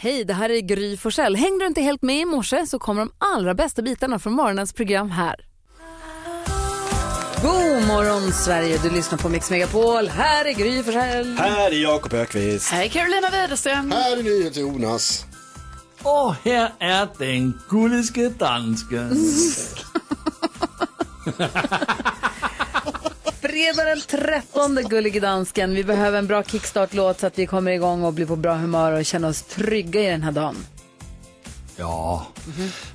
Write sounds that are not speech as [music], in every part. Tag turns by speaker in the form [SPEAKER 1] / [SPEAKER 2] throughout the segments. [SPEAKER 1] Hej, det här är Gry Forssell. Hängde du inte helt med i morse så kommer de allra bästa bitarna från morgonens program här. God morgon Sverige, du lyssnar på Mix Megapol. Här är Gry Forssell.
[SPEAKER 2] Här är Jakob Ökvist.
[SPEAKER 3] Här är Carolina Widerström.
[SPEAKER 4] Här är nyheter Jonas.
[SPEAKER 5] Och här är den gulliske dansken.
[SPEAKER 1] Fredag den 13, gullige dansken. Vi behöver en bra kickstart-låt så att vi kommer igång och blir på bra humör och känner oss trygga i den här dagen.
[SPEAKER 5] Ja,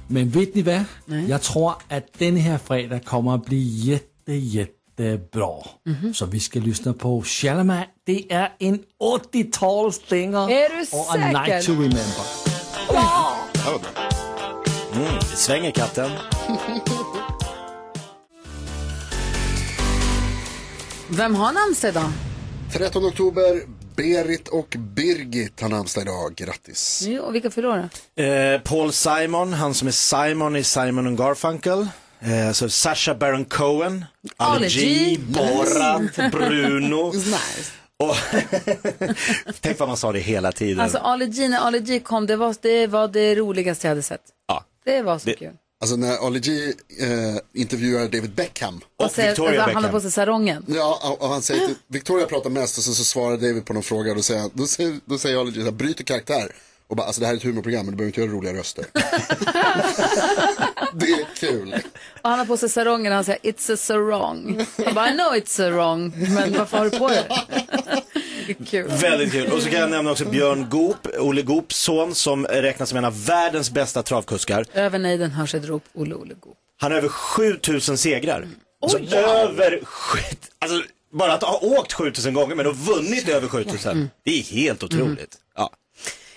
[SPEAKER 5] men vet ni vad? Jag tror att den här fredag kommer att bli jätte, jättebra. Så vi ska lyssna på Shalama. Det är en 80-talsdänga.
[SPEAKER 1] Är du
[SPEAKER 5] Och A Night to
[SPEAKER 1] säker?
[SPEAKER 5] Remember.
[SPEAKER 2] Mm, det svänger katten.
[SPEAKER 1] Vem har namnsdag idag?
[SPEAKER 4] 13 oktober, Berit och Birgit har namnsdag idag. Grattis.
[SPEAKER 1] Jo, Och vilka förlorar?
[SPEAKER 2] Eh, Paul Simon, han som är Simon i Simon and Garfunkel. Eh, så Sasha Baron Cohen,
[SPEAKER 1] Ali
[SPEAKER 2] Ali G,
[SPEAKER 1] G.
[SPEAKER 2] Borat,
[SPEAKER 1] [laughs]
[SPEAKER 2] Bruno. Och [laughs] Tänk vad man sa det hela tiden.
[SPEAKER 1] Alltså Ali G, när Ali G kom, det var det, var det roligaste jag hade sett.
[SPEAKER 2] ja.
[SPEAKER 1] Det var så
[SPEAKER 2] Det-
[SPEAKER 1] kul.
[SPEAKER 4] Alltså när Ali G eh, intervjuar David Beckham.
[SPEAKER 2] Och,
[SPEAKER 1] Och så, alltså,
[SPEAKER 2] Victoria
[SPEAKER 1] han har
[SPEAKER 2] Beckham.
[SPEAKER 1] på sig sarongen.
[SPEAKER 4] Ja, och- och han säger till, Victoria pratar mest och sen så svarar David på någon fråga och då säger, han- då säger, då säger Ali G så här, bryter karaktär. Och bara, alltså det här är ett humorprogram men du behöver inte göra roliga
[SPEAKER 3] [laughs]
[SPEAKER 4] röster. det är kul.
[SPEAKER 1] Och han har på sig sarongen och han säger it's a sarong. Jag bara I know it's a wrong, men varför har du
[SPEAKER 2] [laughs]
[SPEAKER 1] på dig det? Ah, Kul.
[SPEAKER 2] Väldigt kul. Och så kan jag nämna också Björn Goop, Olle Goops son som räknas som en av världens bästa travkuskar.
[SPEAKER 1] Över nejden hörs ett rop, Olle Olle Goop.
[SPEAKER 2] Han har över 7000 segrar. Alltså över 7000, alltså bara att ha åkt 7000 gånger men ha vunnit över 7000. Det är helt otroligt. Ja.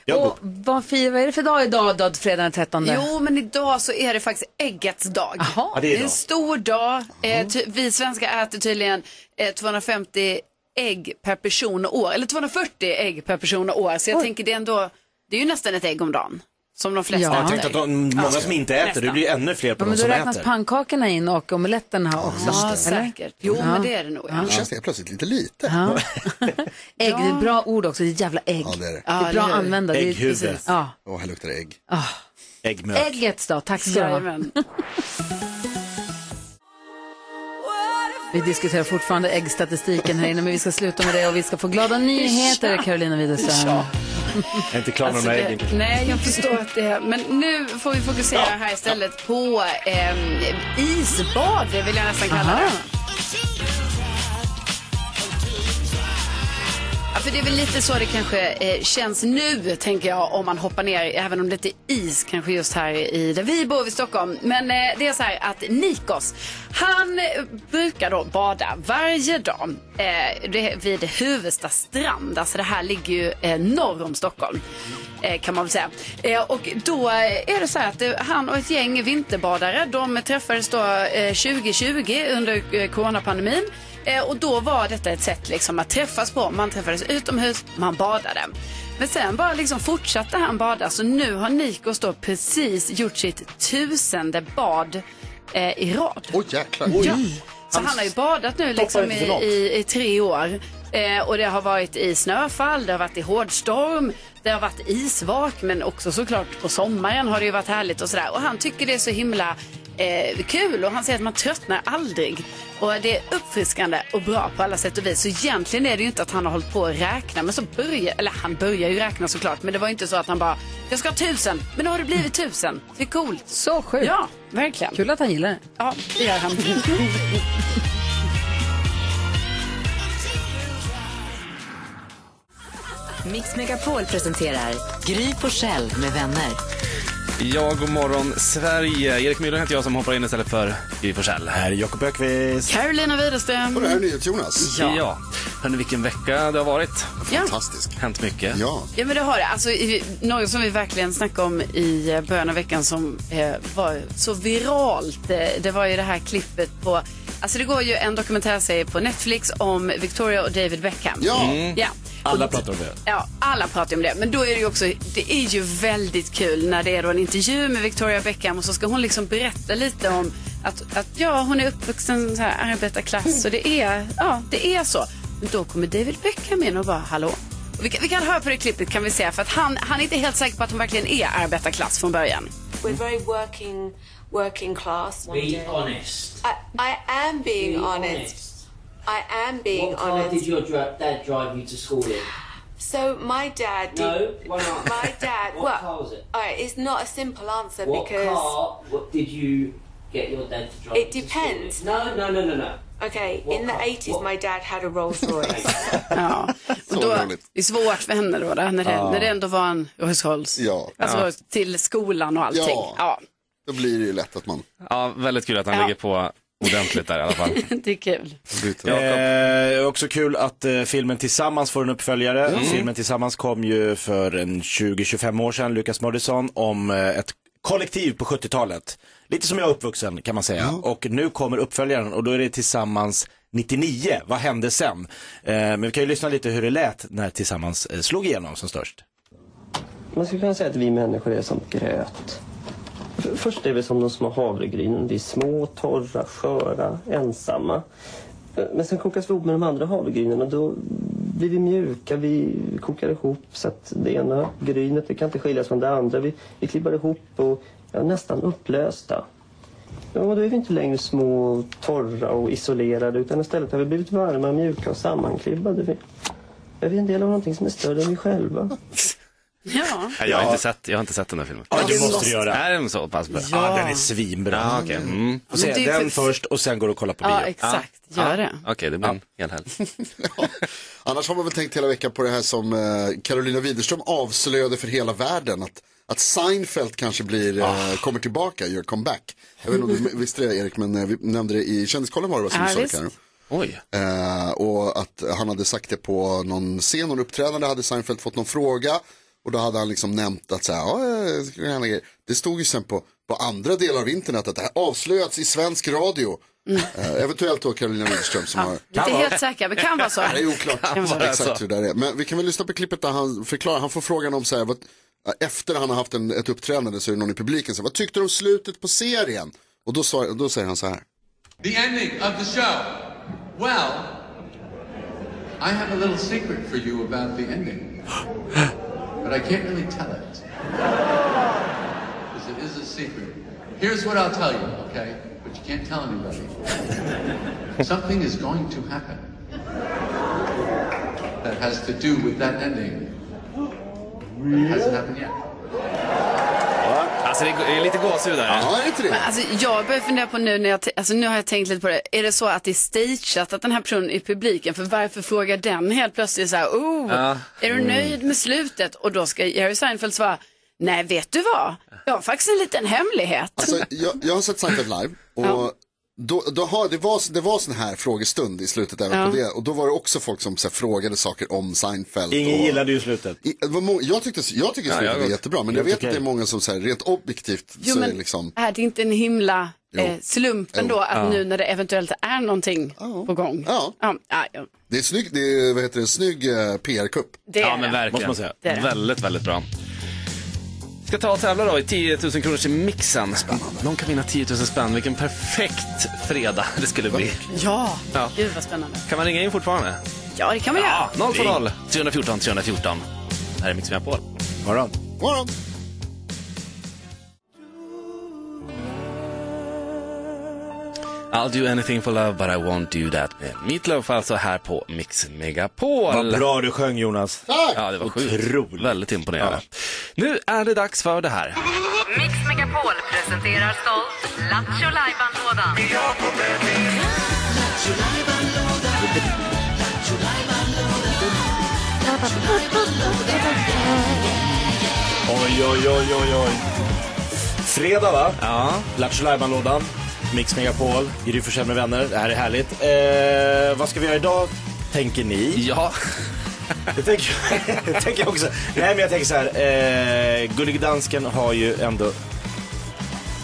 [SPEAKER 2] Jag går
[SPEAKER 1] Och vad, firar, vad är det för dag idag då, fredag den 13?
[SPEAKER 3] Jo, men idag så är det faktiskt äggets dag.
[SPEAKER 1] Jaha.
[SPEAKER 2] Ja, det är
[SPEAKER 3] det är en
[SPEAKER 2] idag.
[SPEAKER 3] stor dag. Eh, ty- vi svenskar äter tydligen eh, 250 ägg per person och år. Eller 240 ägg per person och år. Så jag tänker det är ändå, det är ju nästan ett ägg om dagen. Som
[SPEAKER 2] [laughs]
[SPEAKER 3] de flesta
[SPEAKER 1] Ja.
[SPEAKER 2] Ja,
[SPEAKER 3] äter.
[SPEAKER 2] jag tänkte att de, många som inte äter, det blir ännu fler på de
[SPEAKER 1] Ja, men då
[SPEAKER 2] som
[SPEAKER 1] räknas
[SPEAKER 2] äter.
[SPEAKER 1] pannkakorna in och omeletterna också.
[SPEAKER 3] Ja, säkert. Jo, men det är det nog. Ja.
[SPEAKER 4] Nu känns det helt plötsligt lite lite.
[SPEAKER 1] Ägg, det är ett bra ord också, det är ett jävla ägg.
[SPEAKER 4] Ja, det är det.
[SPEAKER 1] Det är
[SPEAKER 3] eller
[SPEAKER 1] bra
[SPEAKER 3] hur?
[SPEAKER 1] använda. Det är
[SPEAKER 2] Ägghuvud.
[SPEAKER 1] precis- Ja.
[SPEAKER 4] Åh, här luktar det ägg.
[SPEAKER 2] Äggmök.
[SPEAKER 1] Äggets dag, tack ska du ha.
[SPEAKER 3] Jajamän.
[SPEAKER 1] Vi diskuterar fortfarande äggstatistiken här inne, men vi ska sluta med det och vi ska få glada nyheter, Carolina Widerström.
[SPEAKER 2] Jag är inte klar med
[SPEAKER 3] Alltså,
[SPEAKER 2] de här
[SPEAKER 3] det,
[SPEAKER 2] äggen.
[SPEAKER 3] nej, jag förstår att det Men nu får vi fokusera här istället på ehm, isbad, vill jag nästan kalla
[SPEAKER 1] Aha.
[SPEAKER 3] det. Ja, för det är väl lite så det kanske eh, känns nu, tänker jag, om man hoppar ner, även om det inte är is kanske just här i där vi bor i Stockholm. Men eh, det är så här att Nikos, han eh, brukar då bada varje dag eh, det, vid Huvudsta strand. Alltså det här ligger ju eh, norr om Stockholm. eh, Kan man väl säga. Eh, Och då eh, är det så här att eh, han och ett gäng vinterbadare, de träffades då eh, 2020 under eh, coronapandemin. Eh, Och då var detta ett sätt liksom att träffas på. Man träffades utomhus, man badade. Men sen bara liksom fortsatte han bada. Så nu har Nikos då precis gjort sitt tusende bad eh, i rad.
[SPEAKER 4] Åh jäklar.
[SPEAKER 3] Ja. Så han har ju badat nu liksom i, i, i tre år. Eh, och det har varit i snöfall, det har varit i hårdstorm, det har varit isvak men också såklart på sommaren har det ju varit härligt och sådär. Och han tycker det är så himla eh, kul och han säger att man tröttnar aldrig. Och det är uppfriskande och bra på alla sätt och vis. Så egentligen är det ju inte att han har hållit på att räkna men så börjar, eller han börjar ju räkna såklart men det var ju inte så att han bara jag ska ha tusen, men nu har det blivit tusen. Det är coolt.
[SPEAKER 1] Så sjukt.
[SPEAKER 3] Ja, verkligen.
[SPEAKER 1] Kul att han gillar det.
[SPEAKER 3] Ja, det gör
[SPEAKER 1] [laughs]
[SPEAKER 3] han.
[SPEAKER 6] Mix Megapol presenterar Gry Forssell med vänner.
[SPEAKER 7] Ja, god morgon Sverige. Erik Myhlen heter jag som hoppar in istället för Gry Forssell.
[SPEAKER 2] Här är Jakob Ökvist.
[SPEAKER 3] Carolina Widerström.
[SPEAKER 4] Och det här är nyheter Jonas.
[SPEAKER 7] Ja. ja. Hörrni, vilken vecka det har varit.
[SPEAKER 4] Fantastisk.
[SPEAKER 7] Hänt mycket.
[SPEAKER 4] Ja.
[SPEAKER 3] Ja men det har det. Alltså, i- något som vi verkligen snackade om i eh, början av veckan som eh, var så viralt. eh, Det var ju det här klippet på, alltså det går ju en dokumentärserie på Netflix om Victoria och David Beckham. Mm.
[SPEAKER 4] Ja.
[SPEAKER 3] ja.
[SPEAKER 2] Mm. Alla pratar om det.
[SPEAKER 3] Ja, alla pratar ju om det. Men då är det ju också, det är ju väldigt kul när det är då en intervju med Victoria Beckham och så ska hon liksom berätta lite om att, att ja, hon är uppvuxen så här arbetarklass och det är, ja, det är så. Men då kommer David Beckham in och bara, hallå, Vi kan, vi kan höra på det klippet kan vi se, för att han, han är inte helt säker på att hon verkligen är arbetarklass från början.
[SPEAKER 8] We're very working, working class.
[SPEAKER 9] Hmm. Be honest.
[SPEAKER 8] I, I am being
[SPEAKER 9] Be
[SPEAKER 8] honest. I am being
[SPEAKER 9] What car did
[SPEAKER 8] honest.
[SPEAKER 9] your dra- dad drive you to school in?
[SPEAKER 8] So my dad did.
[SPEAKER 9] No, why
[SPEAKER 8] [laughs]
[SPEAKER 9] not?
[SPEAKER 8] My dad.
[SPEAKER 9] What
[SPEAKER 8] well,
[SPEAKER 9] car was it?
[SPEAKER 8] All right, it's not a simple answer
[SPEAKER 9] What
[SPEAKER 8] because.
[SPEAKER 9] car what did you get your dad to drive
[SPEAKER 8] It
[SPEAKER 9] you to
[SPEAKER 8] depends.
[SPEAKER 9] school in? No, no, no, no, no.
[SPEAKER 8] Okay,
[SPEAKER 9] What
[SPEAKER 8] in the
[SPEAKER 9] car?
[SPEAKER 8] 80s,
[SPEAKER 9] What-
[SPEAKER 8] my dad had a Rolls Royce.
[SPEAKER 4] [laughs]
[SPEAKER 3] Ja. Och då,
[SPEAKER 4] roligt.
[SPEAKER 3] det är svårt för henne då, där, när, det, när det ändå var en Rolls
[SPEAKER 4] Ja.
[SPEAKER 3] Alltså till skolan och allting.
[SPEAKER 4] Ja.
[SPEAKER 3] Ja.
[SPEAKER 4] Då blir det ju lätt att man
[SPEAKER 7] Ja, väldigt kul att han
[SPEAKER 3] Ja.
[SPEAKER 7] ligger på ordentligt där i alla fall.
[SPEAKER 3] [laughs]
[SPEAKER 4] [laughs]
[SPEAKER 3] Det är kul.
[SPEAKER 4] bryter.
[SPEAKER 2] Eh, också kul att eh, filmen Tillsammans får en uppföljare.
[SPEAKER 7] Mm.
[SPEAKER 2] Filmen Tillsammans kom ju för en 20-25 år sedan, Lukas Moodysson, om eh, ett kollektiv på 70-talet. Lite som jag är uppvuxen kan man säga. Och nu kommer uppföljaren och då är det Tillsammans 99, vad hände sen? Eh, men vi kan ju lyssna lite hur det lät när Tillsammans eh, slog igenom som störst.
[SPEAKER 10] Man skulle kunna säga att vi människor är som gröt. F- Först är vi som de små havregrynen. Vi är små, torra, sköra, ensamma. Men sen kokas vi ihop med de andra havregrynen och då blir vi mjuka. Vi kokar ihop så att det ena grynet det kan inte skiljas från det andra. Vi, vi klibbar ihop och är nästan upplösta. Ja, Och då är vi inte längre små, torra och isolerade utan istället har vi blivit varma, mjuka och sammanklibbade. Vi, vi är en del av någonting som är större än vi själva.
[SPEAKER 3] Ja.
[SPEAKER 7] Nej, jag, har inte sett, jag har inte sett den här filmen.
[SPEAKER 2] Ja, det måste du göra.
[SPEAKER 7] Är den så pass bra?
[SPEAKER 2] Ja, den är svinbra.
[SPEAKER 7] Ah, okej. Mm.
[SPEAKER 2] Får se
[SPEAKER 3] Men det är
[SPEAKER 2] den
[SPEAKER 3] för-
[SPEAKER 2] först och sen går du och kollar på
[SPEAKER 3] ja,
[SPEAKER 2] bio.
[SPEAKER 3] exakt. Gör det.
[SPEAKER 7] Okej, det blir en hel helg.
[SPEAKER 4] Annars har man väl tänkt hela veckan på det här som eh, Carolina Widerström avslöjade för hela världen. Att, att Seinfeld kanske blir, eh, kommer tillbaka, gör comeback. Jag vet inte om du visste det Erik, men eh, vi nämnde det i Kändiskollen var det va, som
[SPEAKER 3] Ja,
[SPEAKER 4] du sa det,
[SPEAKER 3] visst.
[SPEAKER 4] Karo?
[SPEAKER 7] Oj.
[SPEAKER 4] Eh, och att han hade sagt det på någon scen, någon uppträdande, hade Seinfeld fått någon fråga. Och då hade han liksom nämnt att så här, "Ja, jag skulle gärna ge-" det stod ju sen på, på andra delar av internet att det här avslöjats i svensk radio.
[SPEAKER 3] Mm.
[SPEAKER 4] Eh, eventuellt då Carolina Widerström som har
[SPEAKER 3] Inte helt säker, men kan
[SPEAKER 4] [laughs]
[SPEAKER 3] vara så.
[SPEAKER 4] det är oklart
[SPEAKER 3] alltså.
[SPEAKER 4] exakt hur det där är. Men vi kan väl lyssna på klippet där han förklarar, han får frågan om så här, vad, efter han har haft en, ett uppträdande så är det någon i publiken som vad tyckte du om slutet på serien? Och då, sa, då säger han så här.
[SPEAKER 11] The ending of the show. Well, I have a little secret for you about the ending, but I can't really tell it. Because it is a secret. Here's what I'll tell you, okay? But you can't tell anybody. Something is going to happen that has to do with that ending. But it hasn't happened yet.
[SPEAKER 7] Alltså det är, det är lite gåshud där.
[SPEAKER 4] Ja, är det inte det?
[SPEAKER 3] Alltså, jag börjar fundera på nu, när jag, t- alltså, nu har jag tänkt lite på det. Är det så att det är stageat att den här personen i publiken, för varför frågar den helt plötsligt så här, oh, är du nöjd med slutet? Och då ska Jerry Seinfeld svara, nej vet du vad, jag har faktiskt en liten hemlighet.
[SPEAKER 4] Alltså, jag, jag har sett Seinfeld live och då, då har, det, var, det var sån här frågestund i slutet även på det. Och då var det också folk som så här, frågade saker om Seinfeld.
[SPEAKER 2] Ingen
[SPEAKER 4] och...
[SPEAKER 2] gillade ju slutet.
[SPEAKER 4] I- det var må- Jag, tyckte, jag tycker slutet
[SPEAKER 7] jag
[SPEAKER 4] är
[SPEAKER 7] också.
[SPEAKER 4] jättebra, men jag
[SPEAKER 2] Helt
[SPEAKER 4] vet att det är
[SPEAKER 2] okej.
[SPEAKER 4] många som så här, rent objektivt
[SPEAKER 3] Jo,
[SPEAKER 4] så är
[SPEAKER 3] men
[SPEAKER 4] det liksom,
[SPEAKER 3] är det inte en himla eh,
[SPEAKER 4] Jo.
[SPEAKER 3] slump ändå att nu när det eventuellt är någonting på gång.
[SPEAKER 4] Ja.
[SPEAKER 3] ja, ja,
[SPEAKER 4] det är snygg, det är, vad heter det, snygg eh, PR-kupp.
[SPEAKER 3] det är
[SPEAKER 7] Ja, men
[SPEAKER 3] det.
[SPEAKER 7] verkligen.
[SPEAKER 2] Måste man
[SPEAKER 3] säga. Det.
[SPEAKER 7] Väldigt, väldigt bra. Ska ta och tävla då i 10 000 kronors i mixen. Spännande. Någon kan vinna 10 000 spänn. Vilken perfekt fredag det skulle bli.
[SPEAKER 3] ja.
[SPEAKER 7] Ja.
[SPEAKER 3] gud vad spännande.
[SPEAKER 7] Kan man ringa in fortfarande?
[SPEAKER 3] Ja, det kan man göra.
[SPEAKER 7] Ja, 020 314 314. Det här är Mix Megapol.
[SPEAKER 2] Morgon.
[SPEAKER 4] Morgon!
[SPEAKER 7] I'll do anything for love but I won't do that man. Meatloaf alltså här på Mix Megapol.
[SPEAKER 2] Vad bra du sjöng Jonas.
[SPEAKER 7] Ja, det var sjukt.
[SPEAKER 2] Otroligt.
[SPEAKER 7] Väldigt imponerande. Nu är det dags för det här.
[SPEAKER 6] Mix Megapol presenterar stolt Lattjo Lajban-lådan.
[SPEAKER 2] Oj, oj, oj, oj, oj. Fredag, va?
[SPEAKER 7] Ja.
[SPEAKER 2] Lattjo Lajban-lådan, Mix Megapol, Gry Forssell med vänner. Det här är härligt. Eh, vad ska vi göra idag, tänker ni?
[SPEAKER 7] Ja,
[SPEAKER 2] Det tänker, det tänker jag [laughs] också. Nej, men jag tänker så här. Eh, Gullig Dansken har ju ändå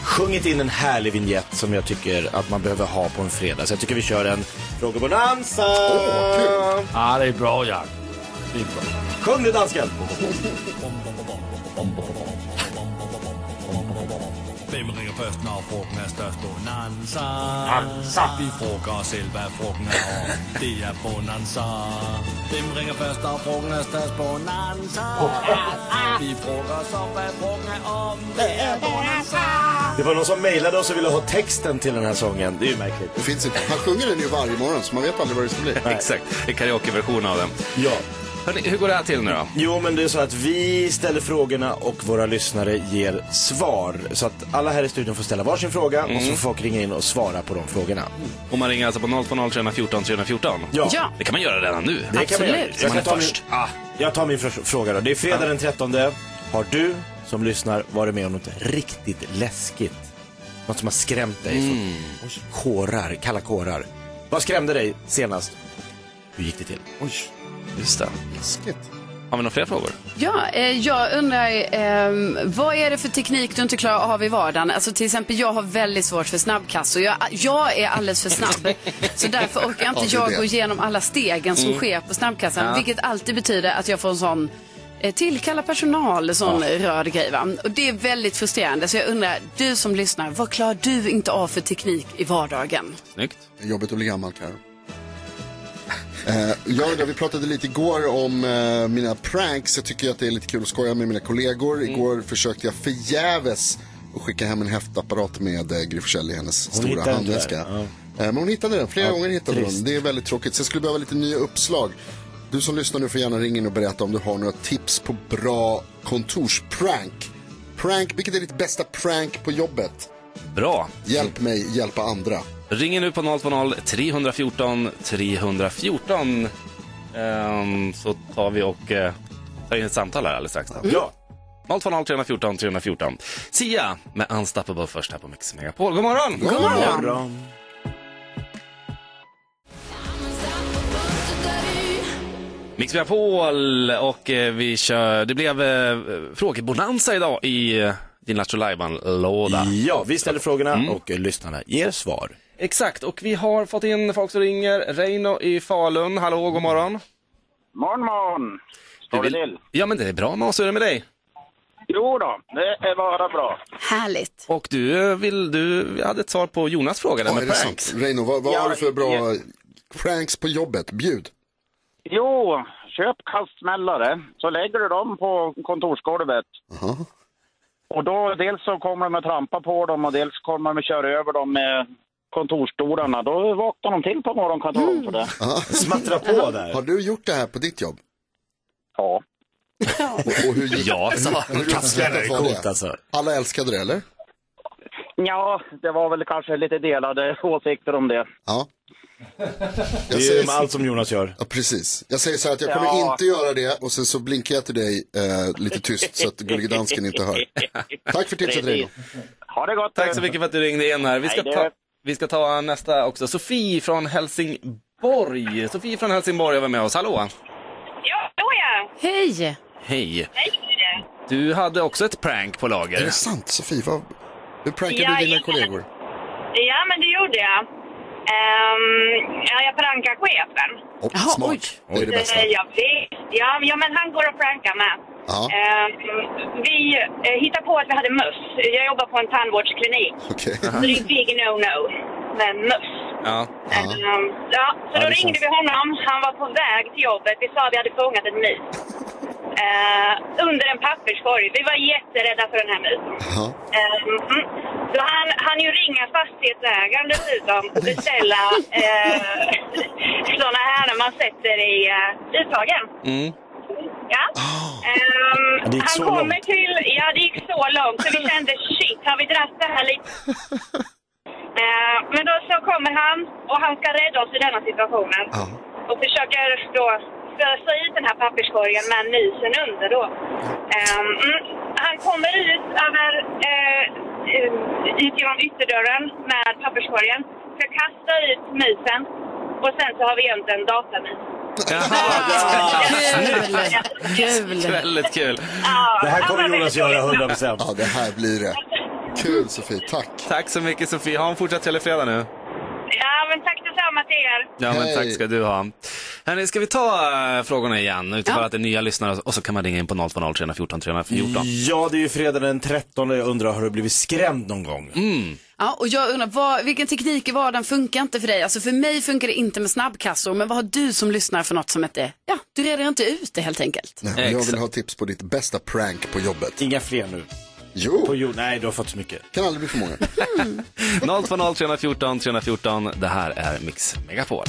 [SPEAKER 2] sjungit in en härlig vignett som jag tycker att man behöver ha på en fredag. Så jag tycker vi kör en frågebonanza.
[SPEAKER 4] Åh, kul.
[SPEAKER 5] Ah, det är bra, Jack. Det är bra.
[SPEAKER 2] Sjung nu, dansken!
[SPEAKER 12] Hvem ringer først, når frugten er størst? Bonanza.
[SPEAKER 13] Bonanza.
[SPEAKER 12] Vi frugger os selv, hvad frugten er om. Det er Bonanza. Hvem ringer først, når frugten er størst? Bonanza. Vi frugger os om, hvad frugten er om. Det er Bonanza.
[SPEAKER 2] Det var någon som mejlade oss och ville ha texten till den här sången. Det är ju märkligt.
[SPEAKER 4] Det finns inte. Han sjunger den ju varje morgon så man vet aldrig vad det ska bli.
[SPEAKER 7] Exakt, en karaokeversion av den.
[SPEAKER 2] Ja.
[SPEAKER 7] Hörrni, hur går det här till nu då?
[SPEAKER 2] Jo, men det är så att vi ställer frågorna och våra lyssnare ger svar. Så att alla här i studion får ställa varsin fråga
[SPEAKER 7] Mm.
[SPEAKER 2] och så får folk ringa in och svara på de frågorna.
[SPEAKER 7] Och man ringer alltså på 020 314 314.
[SPEAKER 2] Ja. Ja.
[SPEAKER 7] Det kan man göra redan nu.
[SPEAKER 2] Det kan man göra.
[SPEAKER 7] Om
[SPEAKER 2] Jag,
[SPEAKER 7] man är
[SPEAKER 2] kan ta min,
[SPEAKER 7] först.
[SPEAKER 2] ah, jag tar min fr- fråga då. Det är fredag den 13. Har du som lyssnar varit med om något riktigt läskigt? Något som har skrämt dig? Mm. Kårar, kalla kårar. Vad skrämde dig senast? Hur gick det till? Oj.
[SPEAKER 7] Just det.
[SPEAKER 4] Läskigt.
[SPEAKER 7] Har vi några fler frågor?
[SPEAKER 3] Ja, eh, jag undrar, ehm, vad är det för teknik du inte klarar av i vardagen? Alltså till exempel, jag har väldigt svårt för snabbkast och jag, jag är alldeles för
[SPEAKER 6] [laughs]
[SPEAKER 3] snabb. Så därför orkar
[SPEAKER 6] Ja,
[SPEAKER 3] inte
[SPEAKER 6] det är
[SPEAKER 3] jag
[SPEAKER 6] det.
[SPEAKER 3] gå igenom alla stegen som
[SPEAKER 6] Mm.
[SPEAKER 3] sker på snabbkassan.
[SPEAKER 6] Ja.
[SPEAKER 3] Vilket alltid betyder att jag får en sån eh, tillkalla personal, sån röd grej. Va? Och det är väldigt frustrerande. Så jag undrar, du som lyssnar, vad klarar du inte av för teknik i vardagen?
[SPEAKER 7] Snyggt.
[SPEAKER 4] Jobbigt att bli gammal Karo. Eh, jag undrar, vi pratade lite igår om eh, mina pranks. Jag tycker ju att det är lite kul att skoja med mina kollegor.
[SPEAKER 2] Mm.
[SPEAKER 4] Igår försökte jag förgäves att skicka hem en häftapparat med eh, Gry Forssell i hennes
[SPEAKER 2] Hon
[SPEAKER 4] stora
[SPEAKER 2] hittade inte
[SPEAKER 4] handväska.
[SPEAKER 2] den, ja.
[SPEAKER 4] Eh, men hon hittade den, flera
[SPEAKER 2] Ja,
[SPEAKER 4] gånger hittade
[SPEAKER 2] trist.
[SPEAKER 4] hon. Det är väldigt tråkigt. Så jag skulle behöva lite nya uppslag. Du som lyssnar nu får gärna ringa in och berätta om du har några tips på bra kontorsprank. Prank, vilket är ditt bästa prank på jobbet?
[SPEAKER 7] Bra.
[SPEAKER 4] Hjälp mig hjälpa andra.
[SPEAKER 7] Ring nu på 020 314 314. Ehm, så tar vi och eh, tar in ett samtal här alldeles strax. Då.
[SPEAKER 2] Mm. Ja.
[SPEAKER 7] 020 314 314. Sia med Unstoppable först här på Mix Megapol. God morgon!
[SPEAKER 2] God morgon. God morgon.
[SPEAKER 7] Mix Megapol och eh, vi kör, det blev eh, frågebonanza idag i eh, din Lattjo Lajban-låda.
[SPEAKER 2] Ja, vi ställer frågorna och eh, lyssnarna ger svar.
[SPEAKER 7] Exakt, och vi har fått in folk som ringer. Reino i Falun, hallå, god morgon.
[SPEAKER 14] Morgon, morgon. Står det
[SPEAKER 7] vill-
[SPEAKER 14] till?
[SPEAKER 7] Ja men det är bra med oss, hur är det med dig?
[SPEAKER 14] Jo då, det är bara bra.
[SPEAKER 3] Härligt.
[SPEAKER 7] Och du, eh, vill, du hade ett svar på Jonas fråga
[SPEAKER 4] Ja,
[SPEAKER 7] där
[SPEAKER 4] är
[SPEAKER 7] med
[SPEAKER 4] det
[SPEAKER 7] prank.
[SPEAKER 4] sant? Reino, vad, vad
[SPEAKER 14] Ja,
[SPEAKER 4] har du för bra
[SPEAKER 14] ja.
[SPEAKER 4] pranks på jobbet? Bjud.
[SPEAKER 14] Jo, köp kastsmällare. Så lägger du dem på kontorsgolvet. Och då dels så kommer de att trampa på dem och dels kommer de att köra över dem med kontorsstolarna. Då vaknar de till på morgonen kan jag tala om för det.
[SPEAKER 2] Smattra på där.
[SPEAKER 4] Har du gjort det här på ditt jobb?
[SPEAKER 14] Ja.
[SPEAKER 4] Och, och hur gick
[SPEAKER 7] Ja,
[SPEAKER 2] alltså,
[SPEAKER 4] hur-
[SPEAKER 7] så.
[SPEAKER 4] hur
[SPEAKER 7] Kastsmällare är
[SPEAKER 4] uppskattat var det?
[SPEAKER 7] coolt, alltså.
[SPEAKER 4] Alla älskade det, eller?
[SPEAKER 14] Ja, det var väl kanske lite delade åsikter om det.
[SPEAKER 4] Ja.
[SPEAKER 2] Det är ju med allt som Jonas gör.
[SPEAKER 4] Ja, precis. Jag säger så här att jag kommer
[SPEAKER 14] Ja.
[SPEAKER 4] inte göra det och sen så blinkar jag till dig eh, lite tyst så att gullige dansken inte hör. Tack för tipset, Reino.
[SPEAKER 14] Ha det gott.
[SPEAKER 7] Tack så mycket för att du ringde in här. Vi ska,
[SPEAKER 14] Nej,
[SPEAKER 7] ta,
[SPEAKER 14] det-
[SPEAKER 7] vi ska ta nästa också. Sofie från Helsingborg. Sofie från Helsingborg var med oss, hallå.
[SPEAKER 15] Ja, då ja.
[SPEAKER 3] Hej!
[SPEAKER 7] Hej.
[SPEAKER 15] Hej.
[SPEAKER 7] Du hade också ett prank på lager. Är det
[SPEAKER 4] sant Sofie? Vad... Hur
[SPEAKER 15] prankar du dina
[SPEAKER 4] kollegor?
[SPEAKER 15] Ja, men det gjorde jag. Ehm, ja, jag prankar chefen.
[SPEAKER 4] Oh, smart. Det är det bästa.
[SPEAKER 15] Eh, Jag vet. Ja, ja, men han går och prankar med.
[SPEAKER 4] Ja.
[SPEAKER 15] Ehm, vi eh, hittade på att vi hade möss. Jag jobbar på en tandvårdsklinik.
[SPEAKER 4] Okej.
[SPEAKER 15] Så det är big no-no med möss.
[SPEAKER 7] Ja.
[SPEAKER 15] Ehm, ja, så
[SPEAKER 7] Ja,
[SPEAKER 15] då
[SPEAKER 7] det
[SPEAKER 15] ringde
[SPEAKER 7] känns-
[SPEAKER 15] vi honom. Han var på väg till jobbet. Vi sa att vi hade fångat en mus. Eh, under en papperskorg. Vi var jätterädda för den här musen. Ehm, mm. så han, han ju ringa fastighetsägaren dessutom och
[SPEAKER 7] [laughs]
[SPEAKER 15] beställa eh, [laughs] sådana här när man sätter i eh, uttagen.
[SPEAKER 7] Mm.
[SPEAKER 15] Ja. Ehm,
[SPEAKER 7] Ah. Ja, det gick
[SPEAKER 15] han
[SPEAKER 7] så
[SPEAKER 15] kommer
[SPEAKER 7] långt.
[SPEAKER 15] till... Ja, det gick så långt så vi kände shit, har vi dratt det här
[SPEAKER 7] [laughs]
[SPEAKER 15] lite? Eh, men då så kommer han och han ska rädda oss i denna situationen. Och försöker då fösa ut den här papperskorgen med musen under då. Ehm, mm, han kommer ut över, eh, eh, ut genom ytterdörren med papperskorgen. Ska kasta ut musen och sen så har vi gömt en datamus.
[SPEAKER 3] Kul!
[SPEAKER 7] Väldigt kul.
[SPEAKER 15] Det
[SPEAKER 2] här kommer Jonas göra 100%.
[SPEAKER 4] Ja, det här blir det. Kul Sofie, tack.
[SPEAKER 7] Tack så mycket Sofie. Ha en fortsatt trevlig fredag nu.
[SPEAKER 15] Ja, men tack detsamma till er.
[SPEAKER 7] Ja, men tack ska du ha. Hörrni, ska vi ta eh, frågorna igen utifrån att det är nya lyssnare och så kan man ringa in på 020
[SPEAKER 2] [laughs]
[SPEAKER 7] 314 [laughs] 314.
[SPEAKER 2] Ja, det är ju fredag den 13. Jag undrar, har du blivit skrämd någon gång?
[SPEAKER 3] Ja, och jag undrar, vad, vilken teknik i vardagen funkar inte för dig? Alltså för mig funkar det inte med snabbkassor, men vad har du som lyssnar för något som inte, ja, du reder inte ut det helt enkelt.
[SPEAKER 4] Nej, men jag vill ha tips på ditt bästa prank på jobbet.
[SPEAKER 2] Inga fler nu.
[SPEAKER 4] Jo.
[SPEAKER 2] På jord. Nej, du har fått så mycket.
[SPEAKER 4] Kan aldrig bli för
[SPEAKER 2] [laughs]
[SPEAKER 4] många.
[SPEAKER 7] 020 314 314. Det här är Mix Megapol.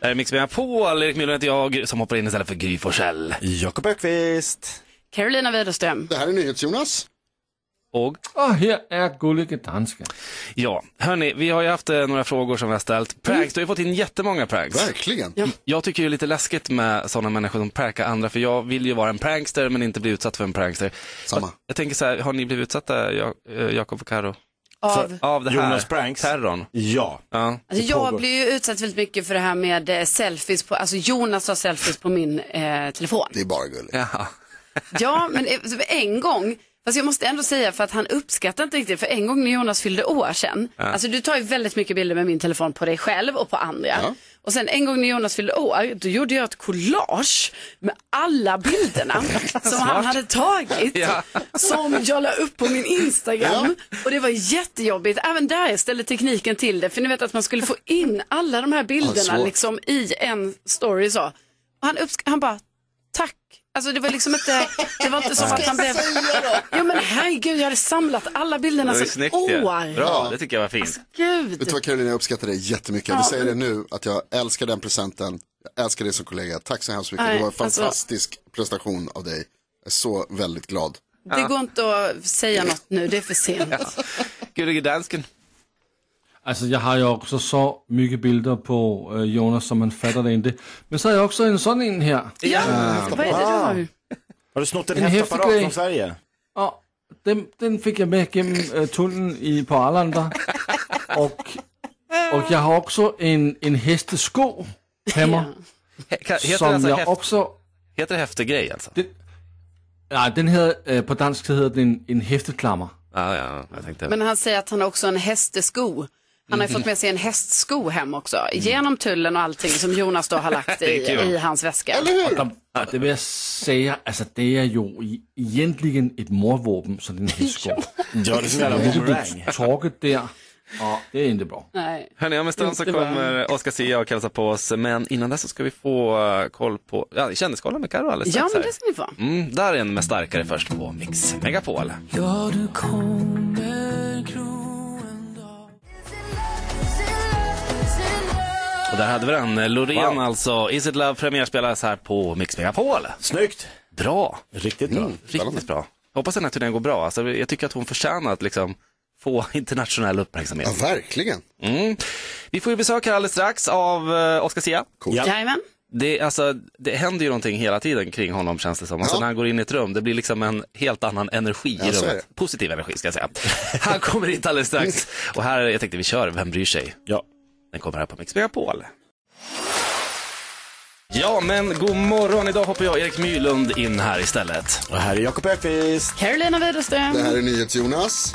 [SPEAKER 7] Det här är Mix Megapol. Erik Myhlund heter jag som hoppar in istället för Gry Forssell.
[SPEAKER 2] Jakob Ökvist.
[SPEAKER 3] Carolina Widerström.
[SPEAKER 4] Det här är NyhetsJonas.
[SPEAKER 7] Och?
[SPEAKER 5] Och här är gullige dansken.
[SPEAKER 7] Ja, hörni, vi har ju haft eh, några frågor som vi har ställt. Pranks, du har ju fått in jättemånga pranks.
[SPEAKER 4] Verkligen.
[SPEAKER 7] Jag tycker ju det är lite läskigt med sådana människor som prankar andra, för jag vill ju vara en prankster men inte bli utsatt för en prankster.
[SPEAKER 4] Samma.
[SPEAKER 7] Jag, jag tänker så här, har ni blivit utsatta, Ja- eh, Jakob och Karo?
[SPEAKER 3] Av?
[SPEAKER 7] För, av det här?
[SPEAKER 2] Jonas pranks?
[SPEAKER 7] Terrorn?
[SPEAKER 2] Ja.
[SPEAKER 7] ja.
[SPEAKER 3] Alltså jag blir ju utsatt väldigt mycket för det här med eh, selfies, på, alltså Jonas tar selfies på min eh, telefon.
[SPEAKER 4] Det är bara gulligt.
[SPEAKER 7] Jaha.
[SPEAKER 2] [laughs]
[SPEAKER 3] Ja, men eh, en gång, fast jag måste ändå säga för att han uppskattar inte riktigt, för en gång när Jonas fyllde år sedan,
[SPEAKER 13] Ja.
[SPEAKER 3] alltså du tar ju väldigt mycket bilder med min telefon på dig själv och på andra. Och sen en gång när Jonas fyllde år, då gjorde jag ett collage med alla bilderna som han
[SPEAKER 13] Smart.
[SPEAKER 3] hade tagit,
[SPEAKER 13] Ja.
[SPEAKER 3] som jag la upp på min Instagram. Och det var jättejobbigt, även där ställde tekniken till det, för ni vet att man skulle få in alla de här bilderna
[SPEAKER 13] svårt.
[SPEAKER 3] liksom i en story så. Och han, uppsk- han bara, tack. Alltså det var liksom inte, det var inte som
[SPEAKER 13] Vad
[SPEAKER 3] att
[SPEAKER 13] ska
[SPEAKER 3] han
[SPEAKER 13] jag
[SPEAKER 3] blev...
[SPEAKER 13] säga då?
[SPEAKER 3] Ja men herregud, jag hade samlat alla bilderna
[SPEAKER 7] Det var ju
[SPEAKER 3] sedan
[SPEAKER 7] snyggt ju.
[SPEAKER 3] år.
[SPEAKER 7] Bra, det tycker jag var fint.
[SPEAKER 3] Gud.
[SPEAKER 4] Alltså, Vet du vad Karolina, jag uppskattar dig jättemycket. Jag
[SPEAKER 3] Ja.
[SPEAKER 4] vill säga det nu, att jag älskar den presenten. Jag älskar dig som kollega. Tack så hemskt mycket.
[SPEAKER 3] Nej,
[SPEAKER 4] det var en
[SPEAKER 3] alltså-
[SPEAKER 4] fantastisk prestation av dig. Jag är så väldigt glad.
[SPEAKER 3] Det går inte att säga något nu, det är för sent.
[SPEAKER 7] Gullige dansken.
[SPEAKER 5] Altså, jeg har jo også så mye bilder på øh, Jonas, som han fatter det ikke. Men så har jeg også en sådan en her.
[SPEAKER 2] Ja,
[SPEAKER 5] Øh,
[SPEAKER 2] vad är det du har? Har du snott en,
[SPEAKER 5] En
[SPEAKER 2] häftapparat
[SPEAKER 5] häftig grej.
[SPEAKER 2] från Sverige?
[SPEAKER 5] Og den, den fik jeg med gennem øh, tunnelen i, på Arlander. og, og jeg har også en, en hestesko hammer,
[SPEAKER 7] [laughs] He- kan- Heter det
[SPEAKER 5] som
[SPEAKER 7] alltså
[SPEAKER 5] jeg
[SPEAKER 7] häft,
[SPEAKER 5] også...
[SPEAKER 7] heter det häftegrej alltså?
[SPEAKER 5] Nej, den hedder, øh, på dansk hedder den en, en hæfteklammer.
[SPEAKER 7] Ja, ja, jag tänkte.
[SPEAKER 3] Men han säger att han har också en hästesko. Han har ju
[SPEAKER 5] Mhm.
[SPEAKER 3] fått med sig en hästsko hem också, genom tullen och allting som Jonas då har lagt i,
[SPEAKER 5] Det är kul.
[SPEAKER 3] i hans väska.
[SPEAKER 5] Og der- og det vil jeg sige, altså det er jo i, egentlig et morvåben, sådan en
[SPEAKER 3] [laughs]
[SPEAKER 5] hæsko.
[SPEAKER 2] det er sådan, der er boomerang.
[SPEAKER 5] Torket der, og det er ikke bra.
[SPEAKER 3] Nej.
[SPEAKER 7] Hörni, om en stund så
[SPEAKER 5] Inte bara-
[SPEAKER 7] kommer Oscar Zia och hälsa på oss, men innan dess så ska vi få eh, koll på ja, kändiskollen med Carro alldeles
[SPEAKER 13] Ja,
[SPEAKER 7] strax
[SPEAKER 13] men
[SPEAKER 7] här.
[SPEAKER 13] det
[SPEAKER 3] ska ni få.
[SPEAKER 7] Mm, där är en med starkare först på Mix Megapol.
[SPEAKER 13] Ja, du kommer
[SPEAKER 7] Och där hade vi den, eh, Loreen alltså. Is it love premiärspelas här på Mix Megapol.
[SPEAKER 2] Snyggt!
[SPEAKER 7] Bra! Mm,
[SPEAKER 2] Riktigt bra.
[SPEAKER 7] Riktigt bra. Hoppas den här turnén går bra. Alltså, jag tycker att hon förtjänar att liksom få [laughs] internationell uppmärksamhet.
[SPEAKER 4] Ja, verkligen.
[SPEAKER 7] Mm. Vi får ju besök här alldeles strax av eh, Oscar Zia.
[SPEAKER 3] Jajamän.
[SPEAKER 7] Det, är alltså, det händer ju någonting hela tiden kring honom känns det som. Alltså, När han går in i ett rum, det blir liksom en helt annan energi
[SPEAKER 2] Ja,
[SPEAKER 7] i
[SPEAKER 2] så är
[SPEAKER 7] rummet. Positiv energi ska jag säga. han kommer hit alldeles strax. Och här, jag tänkte vi kör Vem bryr sig?
[SPEAKER 2] Ja.
[SPEAKER 7] Den kommer här på Mix Megapol. Ja, men god morgon. Idag hoppar jag Erik Mylund in här istället.
[SPEAKER 2] Och här är Jakob Ökvist.
[SPEAKER 3] Carolina Widerström.
[SPEAKER 4] Det här är NyhetsJonas.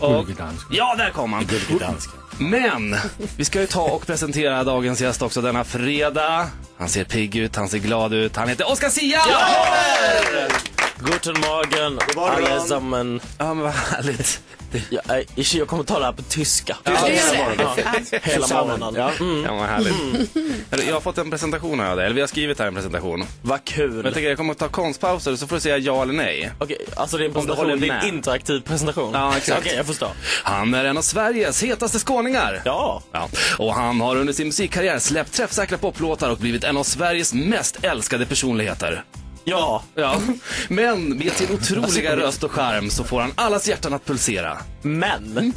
[SPEAKER 7] Och, ja, där kom han. Men vi ska ju ta och presentera dagens gäst också denna fredag. Han ser pigg ut, han ser glad ut. Han heter Oscar Zia!
[SPEAKER 16] Guten Morgen allesammen.
[SPEAKER 7] Ja men vad härligt.
[SPEAKER 16] Jag, är- eh, jag kommer tala på tyska.
[SPEAKER 7] Ja, det gör det.
[SPEAKER 16] Ja, hela morgonen.
[SPEAKER 7] Ja, ja vad härligt.
[SPEAKER 16] Mm.
[SPEAKER 7] Hörru, Jag har fått en presentation här av dig, eller vi har skrivit här en presentation.
[SPEAKER 16] Vad kul. Men
[SPEAKER 7] jag tänker jag kommer att ta konstpauser så får du säga ja eller nej.
[SPEAKER 16] Okej, alltså det är en
[SPEAKER 7] Om du
[SPEAKER 16] presentation, det
[SPEAKER 7] håller
[SPEAKER 16] är en
[SPEAKER 7] med.
[SPEAKER 16] interaktiv presentation.
[SPEAKER 7] Ja, exakt.
[SPEAKER 16] Okej, jag förstår.
[SPEAKER 7] Han är en av Sveriges hetaste skåningar.
[SPEAKER 16] Ja.
[SPEAKER 7] Och han har under sin musikkarriär släppt träffsäkra poplåtar och blivit en av Sveriges mest älskade personligheter.
[SPEAKER 16] Ja.
[SPEAKER 7] ja. Men med sin otroliga röst och charm så får han allas hjärtan att pulsera.
[SPEAKER 16] Men. Men.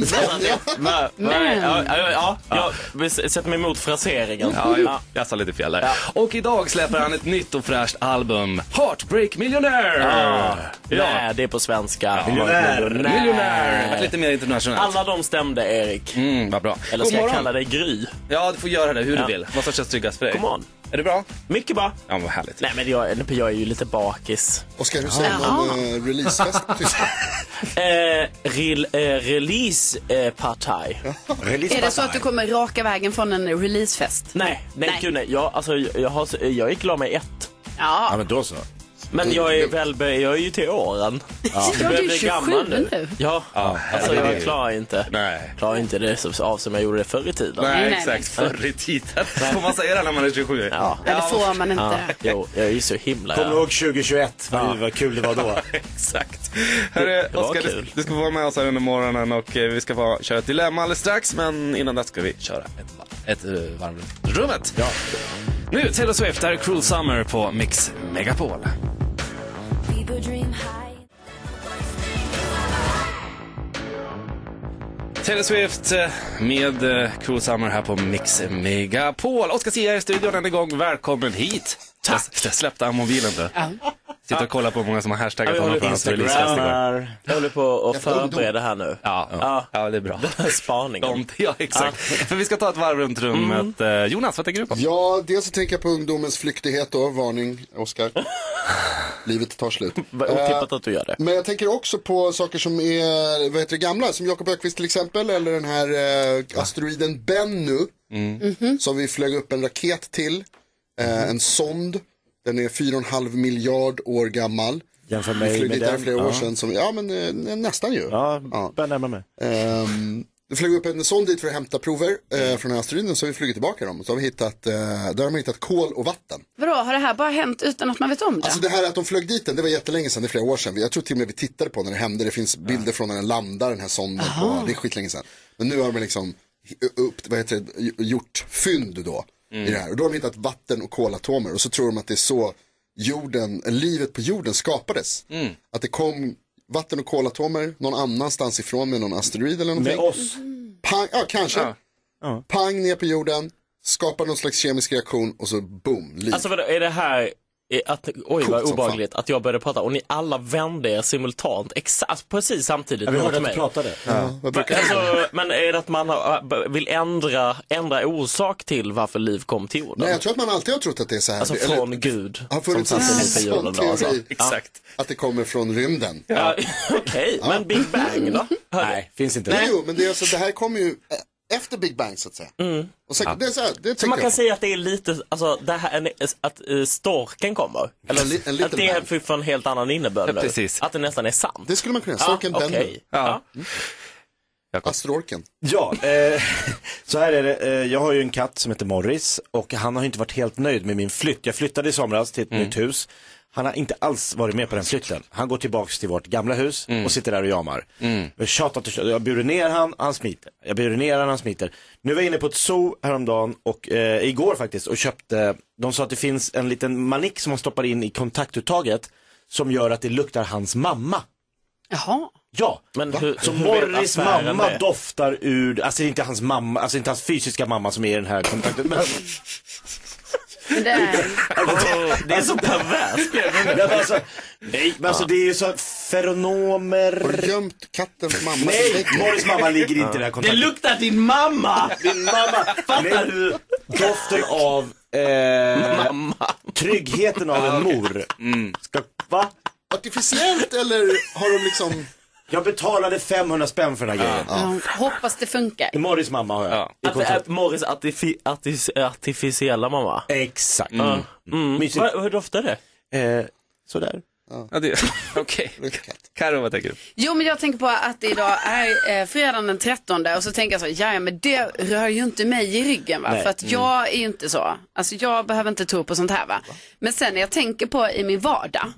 [SPEAKER 7] Men.
[SPEAKER 16] Ja, ja, ja, jag vill s- sätta mig emot fraseringen.
[SPEAKER 7] Ja, jo, jag sa lite fel där. Och idag släpper han ett nytt och fräscht album, Heartbreak Millionaire!
[SPEAKER 16] Ja. Nej, det är på svenska.
[SPEAKER 7] Miljonär.
[SPEAKER 16] Miljonär. Alltså,
[SPEAKER 7] Miljonär. Lite mer internationellt.
[SPEAKER 16] Alla de stämde, Erik.
[SPEAKER 7] Mm, vad bra.
[SPEAKER 16] Eller
[SPEAKER 7] God
[SPEAKER 16] ska jag
[SPEAKER 7] morgon.
[SPEAKER 16] kalla dig Gry?
[SPEAKER 7] Ja, du får göra det hur
[SPEAKER 16] Ja.
[SPEAKER 7] du vill. Vad som känns tryggast för dig.
[SPEAKER 16] God morgon.
[SPEAKER 7] Är det bra?
[SPEAKER 16] Mycket bra.
[SPEAKER 7] Ja, vad härligt.
[SPEAKER 16] Nej, men jag, jag är ju lite bakis. Ah.
[SPEAKER 4] Oskar, hur säger man eh, releasefest på tyska?
[SPEAKER 16] [laughs] eh, rel, eh, releasepartaj.
[SPEAKER 3] Är det så att du kommer raka vägen från en releasefest?
[SPEAKER 16] Nej, nej, gud nej. Jag, alltså, jag, jag, har, jag är klar med ett.
[SPEAKER 3] Ja.
[SPEAKER 2] men då så.
[SPEAKER 16] Men jag är väl, jag är ju till åren.
[SPEAKER 3] Ja.
[SPEAKER 16] Jag börjar
[SPEAKER 3] Ja, du är
[SPEAKER 16] bli gammal
[SPEAKER 3] 27 nu.
[SPEAKER 16] Ja, alltså
[SPEAKER 7] herregud.
[SPEAKER 16] jag klarar inte, klarar inte det så av som jag gjorde det förr i tiden.
[SPEAKER 7] Nej, exakt. Förr i tiden. Får man säga det när man är 27?
[SPEAKER 16] Ja.
[SPEAKER 3] Ja, det får man inte.
[SPEAKER 16] Jo, jag är ju så
[SPEAKER 7] [laughs]
[SPEAKER 16] himla...
[SPEAKER 2] Kommer du ihåg 2021? Vad, vad kul det var då.
[SPEAKER 7] Exakt. Hörru, Oskar, du, du ska få vara med oss här under morgonen och eh, vi ska få köra ett dilemma alldeles strax. Men innan det ska vi köra ett, va- ett eh, varv runt rummet. Ja. Nu Taylor Swift, här är Cruel Summer på Mix Megapol. Taylor Swift eh, med eh, Cruel Summer här på Mix Megapol. Oskar Zia är i studion än en gång. Välkommen hit. Tack. Jag, jag släppte han mobilen du. Sitter och kollar på hur många som har hashtaggat
[SPEAKER 16] Jag
[SPEAKER 7] honom
[SPEAKER 16] håller
[SPEAKER 7] på
[SPEAKER 16] på
[SPEAKER 7] hans releasefest igår.
[SPEAKER 16] Jag håller på att
[SPEAKER 7] Jag får ungdom.
[SPEAKER 16] förbereda här nu.
[SPEAKER 7] Ja, ja. det är bra.
[SPEAKER 16] Spaningen. Mm.
[SPEAKER 7] De, ja, exakt. För vi ska ta ett varv runt rummet. Eh, Jonas, vad tänker du på?
[SPEAKER 4] Ja, dels så tänker jag på ungdomens flyktighet då, varning, Oskar.
[SPEAKER 2] [laughs]
[SPEAKER 4] Livet tar slut.
[SPEAKER 16] Otippat att du gör det.
[SPEAKER 4] Eh, Men jag tänker också på saker som är, vad heter det, gamla, som Jakob Ökvist till exempel, eller den här eh, asteroiden Bennu, som vi flög upp en raket till, eh, en sond, den är 4,5 miljard år gammal.
[SPEAKER 2] Jämför
[SPEAKER 4] Vi
[SPEAKER 2] mig
[SPEAKER 4] flög
[SPEAKER 2] med
[SPEAKER 4] dit här
[SPEAKER 2] den,
[SPEAKER 4] flera år
[SPEAKER 2] ja.
[SPEAKER 4] sedan, som, ja men eh, nästan ju.
[SPEAKER 2] Ja, börjar närma mig.
[SPEAKER 4] Ehm, det flög upp en sond dit för att hämta prover eh, från den här asteroiden, så har vi flugit tillbaka dem. Så har vi hittat, eh, där har man hittat kol och vatten.
[SPEAKER 3] Vadå, har det här bara hänt utan att man vet om det?
[SPEAKER 4] Alltså det här att de flög dit den, det var jättelänge sedan, det är flera år sedan. Jag tror till och med vi tittade på när det hände. Det finns bilder från när den landar, den här sonden. På,
[SPEAKER 3] Aha.
[SPEAKER 4] det är skitlänge sedan. Men nu har de liksom hi- upp, vad heter det, gjort fynd då. I det här. Och då har de hittat vatten och kolatomer. Och så tror de att det är så jorden, livet på jorden skapades. Att det kom vatten och kolatomer någon annanstans ifrån med någon asteroid eller någonting.
[SPEAKER 2] oss?
[SPEAKER 4] Pang, ja, kanske.
[SPEAKER 2] Ja. Ja.
[SPEAKER 4] Pang ner på jorden, skapar någon slags kemisk reaktion och så boom, liv.
[SPEAKER 16] Alltså vadå, är det här är att, oj
[SPEAKER 4] Coolt
[SPEAKER 16] vad
[SPEAKER 4] som
[SPEAKER 16] obehagligt att jag började prata och ni alla vände er simultant, exakt, alltså, precis samtidigt.
[SPEAKER 2] Ja, vi
[SPEAKER 16] mot
[SPEAKER 2] hörde att
[SPEAKER 16] mig.
[SPEAKER 2] du pratade.
[SPEAKER 4] Ja, vad brukar det vara?
[SPEAKER 16] Alltså, men är det att man har, b- vill ändra, ändra orsak till varför liv kom till jorden?
[SPEAKER 4] Nej, jag tror att man alltid har trott att det är så här.
[SPEAKER 16] Alltså
[SPEAKER 4] Det- eller-
[SPEAKER 16] från Gud
[SPEAKER 4] Har
[SPEAKER 16] som
[SPEAKER 4] funnits en
[SPEAKER 16] satte sig på
[SPEAKER 4] sån
[SPEAKER 16] jorden. då, Alltså.
[SPEAKER 4] teori.
[SPEAKER 7] Exakt.
[SPEAKER 4] Att det kommer från rymden.
[SPEAKER 16] Ja, Okej, men Big Bang då?
[SPEAKER 2] Nej, finns inte.
[SPEAKER 4] Nej, jo, men det, är alltså, det här kommer ju eh, efter Big Bang så att säga.
[SPEAKER 16] Mm.
[SPEAKER 4] Och sen, det är så här, det
[SPEAKER 16] Så
[SPEAKER 4] tänker
[SPEAKER 16] man kan
[SPEAKER 4] jag.
[SPEAKER 16] säga att det är lite, alltså det här, en, att eh, storken kommer? Eller
[SPEAKER 4] En li- en
[SPEAKER 16] att det
[SPEAKER 4] little
[SPEAKER 16] är för en helt annan innebörd nu?
[SPEAKER 7] Ja, precis.
[SPEAKER 16] Att det nästan är sant?
[SPEAKER 4] Det skulle man kunna, storken
[SPEAKER 16] ja,
[SPEAKER 4] ja,
[SPEAKER 16] okej.
[SPEAKER 7] Ja.
[SPEAKER 4] Asterorken.
[SPEAKER 2] Ja, eh, [laughs] så här är det. Eh, jag har ju en katt som heter Morris och han har ju inte varit helt nöjd med min flytt. Jag flyttade i somras till ett nytt hus. Han har inte alls varit med på den flytten. Han går tillbaks till vårt gamla hus och sitter där och jamar. Jag har tjatat och tjatat. Jag bjuder ner han, han smiter. Jag bjuder ner han, han smiter. Nu var jag inne på ett zoo häromdagen och eh, igår faktiskt och köpte, de sa att det finns en liten manik som man stoppar in i kontaktuttaget som gör att det luktar hans mamma.
[SPEAKER 3] Jaha.
[SPEAKER 2] Ja,
[SPEAKER 16] Men hur,
[SPEAKER 2] så
[SPEAKER 16] hur
[SPEAKER 2] Morris
[SPEAKER 16] vet affären
[SPEAKER 2] mamma
[SPEAKER 16] det?
[SPEAKER 2] doftar ur, alltså det är inte hans mamma, alltså inte hans fysiska mamma som är i den här kontakten. Men,
[SPEAKER 3] Men det är...
[SPEAKER 4] [laughs]
[SPEAKER 16] Åh, det är så perverst.
[SPEAKER 2] men alltså, nej, men alltså det är ju så feronomer.
[SPEAKER 4] Har du gömt kattens mamma i
[SPEAKER 2] Nej,
[SPEAKER 4] väggen?
[SPEAKER 2] Morris mamma ligger inte i den här
[SPEAKER 16] Det
[SPEAKER 2] kontakten.
[SPEAKER 16] luktar din mamma!
[SPEAKER 2] Din mamma, fattar du? Doften av, eh,
[SPEAKER 16] mamma. Mm.
[SPEAKER 2] tryggheten av en mor. Ska, va?
[SPEAKER 4] Artificiellt eller har de liksom...
[SPEAKER 2] Jag betalade 500 spänn för den här grejen.
[SPEAKER 3] Ja, hoppas det funkar.
[SPEAKER 2] Morris mamma har jag. I
[SPEAKER 16] Att det är
[SPEAKER 2] kontrakt.
[SPEAKER 16] Morris artifi- artis- artificiella mamma.
[SPEAKER 2] Exakt.
[SPEAKER 16] Mm. Mm.
[SPEAKER 2] Mysigt.
[SPEAKER 16] Va, hur doftar det?
[SPEAKER 2] Eh, sådär. [laughs]
[SPEAKER 7] Ja, det- Okej. Karo, vad tänker du?
[SPEAKER 3] Jo, men jag tänker på att det idag är eh, fredagen den 13 och så tänker jag så, ja men det rör ju inte mig i ryggen va,
[SPEAKER 2] Nej.
[SPEAKER 3] för att
[SPEAKER 16] Mm.
[SPEAKER 3] jag är ju inte så, alltså jag behöver inte tro på sånt här va. Men sen när jag tänker på i min vardag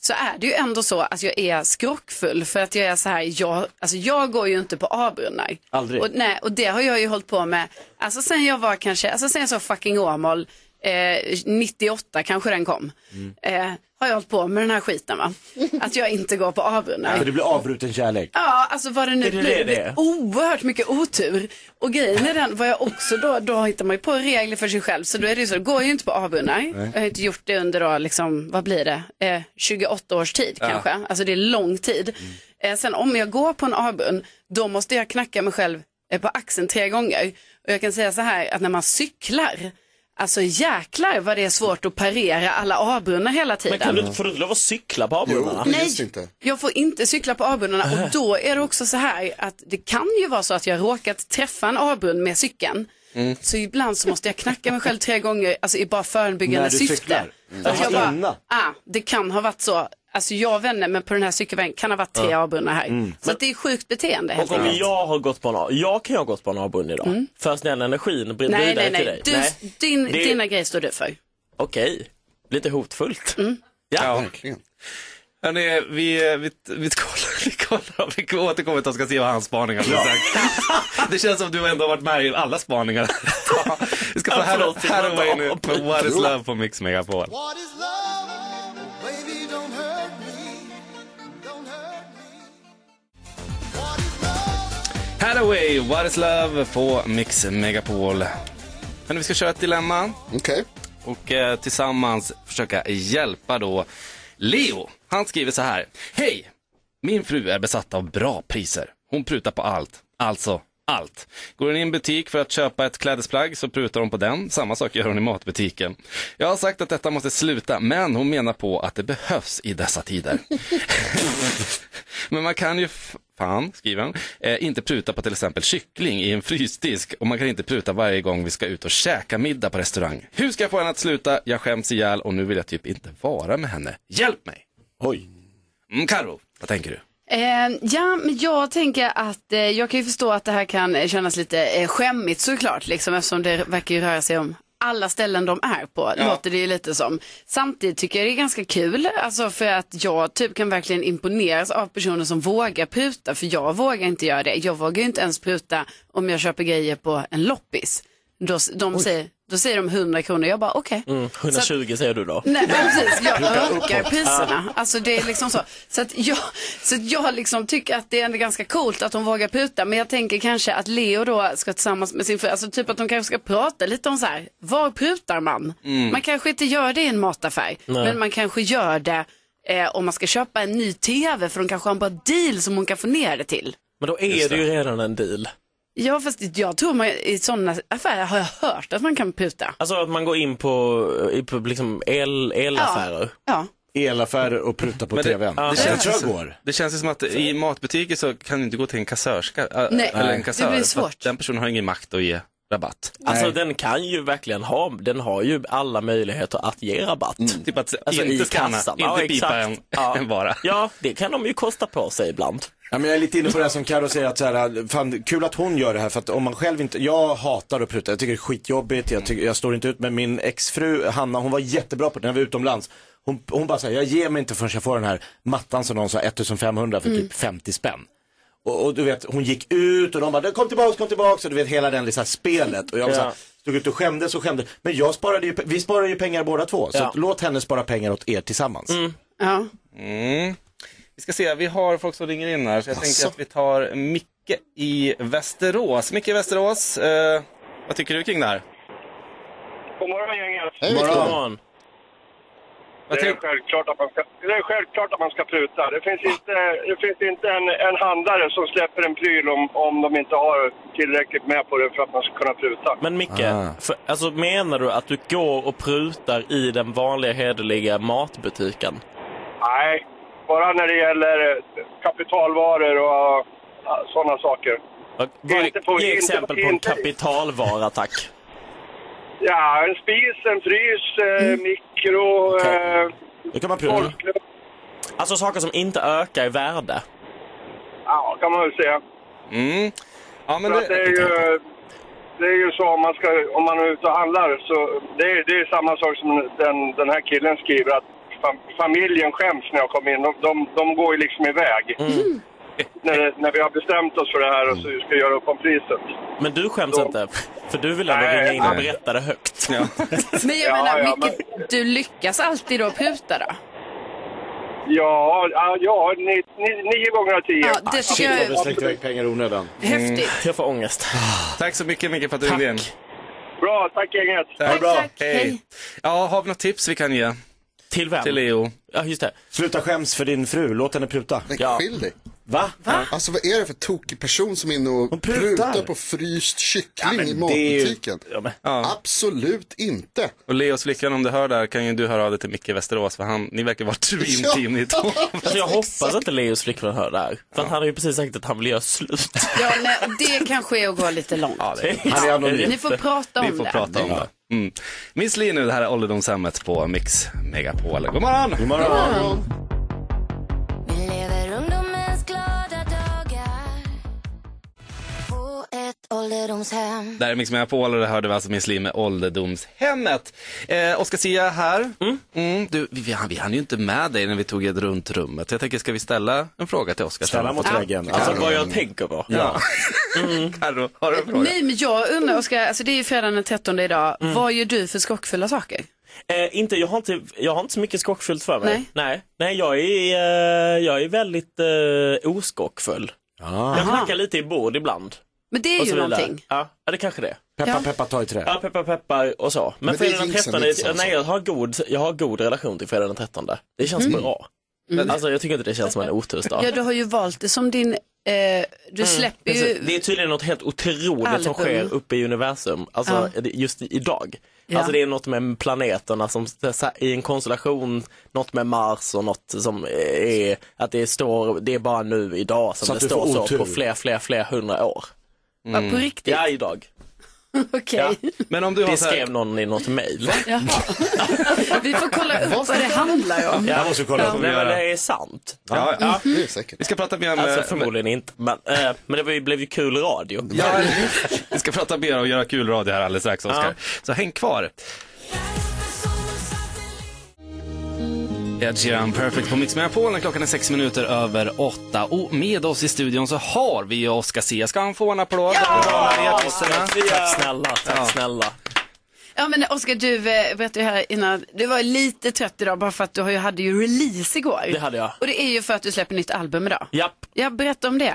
[SPEAKER 3] så är det ju ändå så att jag är skrockfull för att jag är så här, jag, alltså jag går ju inte på avbrunnar.
[SPEAKER 2] Aldrig.
[SPEAKER 3] Och, nej, och det har jag ju hållit på med, alltså sen jag var kanske, alltså sen jag såg fucking Åmål, eh, 98 kanske den kom,
[SPEAKER 2] Mm.
[SPEAKER 3] eh, har jag hållit på med den här skiten va. Att jag inte går på avbrunnar.
[SPEAKER 2] För det blir avbruten kärlek.
[SPEAKER 3] Ja, alltså vad det nu
[SPEAKER 16] Är det
[SPEAKER 3] blir.
[SPEAKER 16] det
[SPEAKER 3] Det
[SPEAKER 16] det är?
[SPEAKER 3] är oerhört mycket otur. Och grejen är den, vad jag också då, då hittar man ju på regler för sig själv. Så då är det ju så, det går ju inte på avunnar. Jag har inte gjort det under då, liksom, vad blir det, eh, 28 års tid
[SPEAKER 7] Ja.
[SPEAKER 3] kanske. Alltså det är lång tid.
[SPEAKER 16] Mm.
[SPEAKER 3] Eh, sen om jag går på en avund, då måste jag knacka mig själv eh, på axeln tre gånger. Och jag kan säga så här, att när man cyklar, Alltså jäklar vad det är svårt att parera alla avbrunnar hela tiden.
[SPEAKER 16] Men kan du, får du inte lov att cykla på avbrunnarna?
[SPEAKER 3] Nej. Just
[SPEAKER 4] inte.
[SPEAKER 3] Jag får inte cykla på avbrunnarna
[SPEAKER 16] Äh.
[SPEAKER 3] och då är det också så här att det kan ju vara så att jag råkat träffa en avbrunn med cykeln. Så ibland så måste jag knacka mig själv tre gånger, alltså i bara förebyggande
[SPEAKER 17] När du
[SPEAKER 3] syfte.
[SPEAKER 17] cyklar? Mm.
[SPEAKER 3] Så att jag
[SPEAKER 17] Jaha.
[SPEAKER 3] bara, ah, det kan ha varit så. Alltså jag vänner, men på den här cykelvägen kan ha varit tre
[SPEAKER 16] Ja.
[SPEAKER 3] avbrunnar här.
[SPEAKER 16] Mm.
[SPEAKER 3] Så att det är sjukt beteende helt
[SPEAKER 16] Och om
[SPEAKER 3] enkelt.
[SPEAKER 16] jag har gått på en av- jag kan ju ha gått på en avbrunn idag.
[SPEAKER 3] Mm.
[SPEAKER 16] För snäll energin brinner
[SPEAKER 3] Nej,
[SPEAKER 16] vidare
[SPEAKER 3] nej,
[SPEAKER 16] till
[SPEAKER 3] nej.
[SPEAKER 16] dig.
[SPEAKER 3] Du, Din, Dina grejer står du för.
[SPEAKER 16] Okej, lite hotfullt.
[SPEAKER 7] Ja, verkligen. Hörrni, vi, eh, vi, vi, kollar, [laughs] vi, kollar, vi återkommer till Oskar Sia och hans spaningar. alldeles strax. Det känns som du ändå har varit med i alla spaningar. Vi ska få Hero- Haraway nu med What is love på Mix Megapol.
[SPEAKER 13] What is love? Baby, don't hurt me. Don't hurt
[SPEAKER 7] Haraway, What is love på Mix Megapol. Hörrni, vi ska köra ett dilemma.
[SPEAKER 4] Okej.
[SPEAKER 7] Och eh, tillsammans försöka hjälpa då Leo. Han skriver så här. Hej! Min fru är besatt av bra priser. Hon prutar på allt. Alltså allt. Går hon in i en butik för att köpa ett klädesplagg så prutar hon på den. Samma sak gör hon i matbutiken. Jag har sagt att detta måste sluta, men hon menar på att det behövs i dessa tider. Men man kan ju, f- fan skriver han, eh, inte pruta på till exempel kyckling i en frysdisk och man kan inte pruta varje gång vi ska ut och käka middag på restaurang. Hur ska jag få henne att sluta? Jag skäms ihjäl och nu vill jag typ inte vara med henne. Hjälp mig! Oj. Mm, Karo, vad tänker du?
[SPEAKER 3] Eh, ja, men jag tänker att eh, jag kan ju förstå att det här kan eh, kännas lite eh, skämmigt såklart, liksom, eftersom det verkar ju röra sig om alla ställen de är på,
[SPEAKER 17] Ja.
[SPEAKER 3] låter det ju lite som. Samtidigt tycker jag det är ganska kul, alltså för att jag typ kan verkligen imponeras av personer som vågar pruta, för jag vågar inte göra det. Jag vågar ju inte ens pruta om jag köper grejer på en loppis. Då, s- de
[SPEAKER 16] Oj.
[SPEAKER 3] säger, då säger de 100 kronor, jag bara okej.
[SPEAKER 16] Mm, 120 säger du då.
[SPEAKER 3] Nej, men precis. Jag
[SPEAKER 16] Pruta
[SPEAKER 3] ökar
[SPEAKER 16] uppåt.
[SPEAKER 3] priserna. Alltså det är liksom så. Så att jag, så att jag liksom tycker att det är ändå ganska coolt att de vågar puta. Men jag tänker kanske att Leo då ska tillsammans med sin fru, alltså typ att de kanske ska prata lite om så här, var prutar man?
[SPEAKER 17] Mm.
[SPEAKER 3] Man kanske inte gör det i en mataffär,
[SPEAKER 17] Nej.
[SPEAKER 3] men man kanske gör det eh, om man ska köpa en ny tv, för de kanske har en bra deal som hon kan få ner det till.
[SPEAKER 16] Men då är det ju redan en deal.
[SPEAKER 3] Ja, fast jag tror man, i sådana affärer har jag hört att man kan puta.
[SPEAKER 16] Alltså att man går in på, i, på liksom el, elaffärer.
[SPEAKER 3] Ja.
[SPEAKER 2] Elaffärer och pruta på
[SPEAKER 7] Men
[SPEAKER 2] tvn.
[SPEAKER 7] det, känns,
[SPEAKER 2] jag tror jag går.
[SPEAKER 7] det känns ju som att i matbutiker så kan du inte gå till en kassörska. äh,
[SPEAKER 16] Nej,
[SPEAKER 7] eller en
[SPEAKER 16] det
[SPEAKER 7] kassör,
[SPEAKER 16] blir
[SPEAKER 7] för att
[SPEAKER 16] svårt.
[SPEAKER 7] Den personen har ingen makt att ge rabatt.
[SPEAKER 16] Alltså den kan ju verkligen ha, den har ju alla möjligheter att ge rabatt.
[SPEAKER 2] Mm.
[SPEAKER 7] Typ att
[SPEAKER 16] alltså,
[SPEAKER 7] inte
[SPEAKER 16] i
[SPEAKER 7] scanna,
[SPEAKER 16] kassan.
[SPEAKER 7] inte pipa en- [laughs] en vara.
[SPEAKER 16] Ja, det kan de ju kosta på sig ibland.
[SPEAKER 2] Ja, men jag är lite inne på det här som Karo säger att så här, fan, kul att hon gör det här för att om man själv inte, jag hatar att pruta, jag tycker det är skitjobbigt, jag, tycker, jag står inte ut med min exfru Hanna, hon var jättebra på det när vi var utomlands. Hon, hon bara säger jag ger mig inte förrän jag får den här mattan som någon sa 1500 för
[SPEAKER 17] Mm.
[SPEAKER 2] typ 50 spänn. Och, och du vet, hon gick ut och de bara, kom tillbaks, kom tillbaks, och du vet hela den liksom, spelet. Och jag var så här,
[SPEAKER 16] Ja.
[SPEAKER 2] stod ut och skämdes och skämdes. Men jag sparade ju, pe- vi sparade ju pengar båda två, så
[SPEAKER 7] Ja.
[SPEAKER 2] att, låt henne spara pengar åt er tillsammans.
[SPEAKER 3] Ja.
[SPEAKER 7] Mm. Vi ska se, vi har folk som ringer in här så jag tänker att vi tar Micke i Västerås. Micke i Västerås, eh, vad tycker du kring det här?
[SPEAKER 18] God morgon gänget!
[SPEAKER 7] Vad
[SPEAKER 18] Det är, självklart att man ska, det är självklart att man ska pruta. Det finns inte, det finns inte en, en handlare som släpper en pryl om, om de inte har tillräckligt med på det för att man ska kunna pruta.
[SPEAKER 16] Men
[SPEAKER 2] Ah.
[SPEAKER 16] Micke, för, alltså, menar du att du går och prutar i den vanliga hederliga matbutiken?
[SPEAKER 18] Nej, bara när det gäller eh, kapitalvaror och eh, sådana saker.
[SPEAKER 16] Och Vad,
[SPEAKER 18] Inte på-
[SPEAKER 16] ge
[SPEAKER 18] inte-
[SPEAKER 16] exempel på en
[SPEAKER 18] inte-
[SPEAKER 16] kapitalvara tack.
[SPEAKER 18] Ja, en spis, en frys, eh, mikro... Eh,
[SPEAKER 2] Då kan man
[SPEAKER 16] pruta. Alltså saker som inte ökar i värde.
[SPEAKER 18] Ja, kan man väl säga.
[SPEAKER 7] Mm. Ja, men
[SPEAKER 18] För
[SPEAKER 7] det-
[SPEAKER 18] att det, är ju, det är ju så om man, ska, om man är ute och handlar så det är, det är samma sak som den, den här killen skriver att fam, familjen skäms när jag kommer in. De, de, de går ju liksom iväg.
[SPEAKER 7] Mm.
[SPEAKER 18] [laughs] När, när vi har bestämt oss för det här och så ska vi göra upp om priset.
[SPEAKER 16] Men du skäms inte, för du vill ändå
[SPEAKER 18] Nej,
[SPEAKER 16] ringa in och
[SPEAKER 18] nej.
[SPEAKER 16] berätta det högt.
[SPEAKER 3] [laughs] Men jag
[SPEAKER 18] Ja,
[SPEAKER 3] menar,
[SPEAKER 18] ja,
[SPEAKER 3] Micke, du lyckas alltid då pruta då?
[SPEAKER 18] Ja, ja, ja ni, ni, nio gånger av tio.
[SPEAKER 3] Ja, det tycker jag-
[SPEAKER 2] pengar i onödan.
[SPEAKER 3] Häftigt.
[SPEAKER 16] Mm. Jag får ångest.
[SPEAKER 7] Tack så mycket Micke för att du ringde in.
[SPEAKER 18] Bra, tack gänget.
[SPEAKER 7] Ha det bra. Hej. Ja, har vi något tips vi kan ge?
[SPEAKER 16] Till vem?
[SPEAKER 7] Till Leo.
[SPEAKER 16] Ja, just det.
[SPEAKER 2] Sluta skäms för din fru, låt henne pruta.
[SPEAKER 16] Ja.
[SPEAKER 2] Va?
[SPEAKER 4] Alltså vad är det för tokig person som är inne och
[SPEAKER 2] prutar.
[SPEAKER 4] prutar på fryst
[SPEAKER 7] Ja,
[SPEAKER 4] kyckling
[SPEAKER 7] men
[SPEAKER 4] i
[SPEAKER 7] det är ju-
[SPEAKER 4] matbutiken? Absolut inte.
[SPEAKER 7] Och Leos flickvän, om du hör det här kan ju du höra av dig till Micke i Västerås för han, ni verkar vara dream team ni två.
[SPEAKER 16] Alltså, jag hoppas att Leos flickvän hör det här. För att han har ju precis sagt att han vill göra slut.
[SPEAKER 3] Ja, nej, det kanske är att gå lite långt.
[SPEAKER 7] Han är anonym.
[SPEAKER 3] Ni får prata om
[SPEAKER 7] Vi får
[SPEAKER 3] det.
[SPEAKER 7] prata om det. Mm. Miss Li nu, det här är ålderdomshemmet på Mix Megapol. God morgon! God
[SPEAKER 2] morgon. God morgon.
[SPEAKER 13] Vi lever ungdomens glada dagar på ett ålderdomshem.
[SPEAKER 7] Där är Mix Megapol och det hörde vi alltså Miss Li med ålderdomshemmet. Eh, Oskar Sia här. Mm. Du, vi, vi, hann- vi hann ju inte med dig när vi tog ett runt rummet. Jag tänker, ska vi ställa en fråga till Oskar?
[SPEAKER 2] Ställa mot väggen.
[SPEAKER 16] Alltså, vad jag tänker på.
[SPEAKER 7] Ja. [laughs] Carro, har du en fråga?
[SPEAKER 3] Nej, men jag undrar, Oskar, alltså det är ju fredagen den 13 idag. Vad gör du för skockfulla saker?
[SPEAKER 16] Eh, inte, jag, har inte, jag har inte så mycket skockfullt för mig.
[SPEAKER 3] Nej.
[SPEAKER 16] Nej, Nej jag, är, eh, jag är väldigt eh, oskockfull. Jag knackar lite i bord ibland.
[SPEAKER 3] Men det är
[SPEAKER 16] Och
[SPEAKER 3] ju
[SPEAKER 16] så vidare.
[SPEAKER 3] någonting.
[SPEAKER 16] Ja, ja, det kanske det är.
[SPEAKER 2] Peppa, Ja. peppa, ta i trä.
[SPEAKER 16] Ja, peppa, peppar och så. Men,
[SPEAKER 2] Men det är
[SPEAKER 16] fredag den
[SPEAKER 2] jinxen
[SPEAKER 16] 13,
[SPEAKER 2] lite så,
[SPEAKER 16] nej jag har, god, jag har god relation till fredag den 13. Det känns
[SPEAKER 3] Mm.
[SPEAKER 16] bra.
[SPEAKER 3] Mm.
[SPEAKER 16] Alltså jag tycker inte det känns som en otursdag.
[SPEAKER 3] Ja, du har ju valt det som din, eh, du släpper
[SPEAKER 16] Mm. Precis.
[SPEAKER 3] ju
[SPEAKER 16] Det är tydligen något helt otroligt som
[SPEAKER 3] Album.
[SPEAKER 16] sker uppe i universum, alltså det- just i- idag.
[SPEAKER 3] Ja.
[SPEAKER 16] Alltså det är något med planeterna som s- s- i en konstellation, något med Mars och något som eh, är, att det står, det är bara nu idag som
[SPEAKER 2] Så att
[SPEAKER 16] det
[SPEAKER 2] du
[SPEAKER 16] står
[SPEAKER 2] får
[SPEAKER 16] så
[SPEAKER 2] otur.
[SPEAKER 16] på fler, fler, fler hundra år.
[SPEAKER 7] Mm. på
[SPEAKER 3] riktigt?
[SPEAKER 16] Ja, idag.
[SPEAKER 3] [laughs] Okej.
[SPEAKER 16] Ja.
[SPEAKER 7] Men om du
[SPEAKER 16] det
[SPEAKER 7] har så här-
[SPEAKER 16] skrev någon i något mejl.
[SPEAKER 3] [laughs] Vi får kolla upp vad det handlar om.
[SPEAKER 16] Ja.
[SPEAKER 7] upp.
[SPEAKER 16] Nej, men det är sant.
[SPEAKER 7] Ja, ja.
[SPEAKER 4] Det är säkert.
[SPEAKER 7] Vi ska prata mer om...
[SPEAKER 16] Alltså förmodligen inte, men, eh, men det var ju- blev ju kul radio. [laughs]
[SPEAKER 7] Ja, [laughs] vi ska prata mer och göra kul radio här alldeles strax, Oskar. Så häng kvar. Ed Sheeran, Perfect på Mix Megapolen. Klockan är sex minuter över åtta. Och med oss i studion så har vi ju Oskar Zia. Ska han få en applåd? Ja!
[SPEAKER 16] Tack snälla, tack
[SPEAKER 7] Ja.
[SPEAKER 16] snälla.
[SPEAKER 3] Ja men Oskar, du eh, berättade ju här innan, du var lite trött idag bara för att du har ju- hade ju release igår.
[SPEAKER 16] Det hade jag.
[SPEAKER 3] Och det är ju för att du släpper nytt album idag.
[SPEAKER 16] Japp.
[SPEAKER 3] Ja, berätta om det.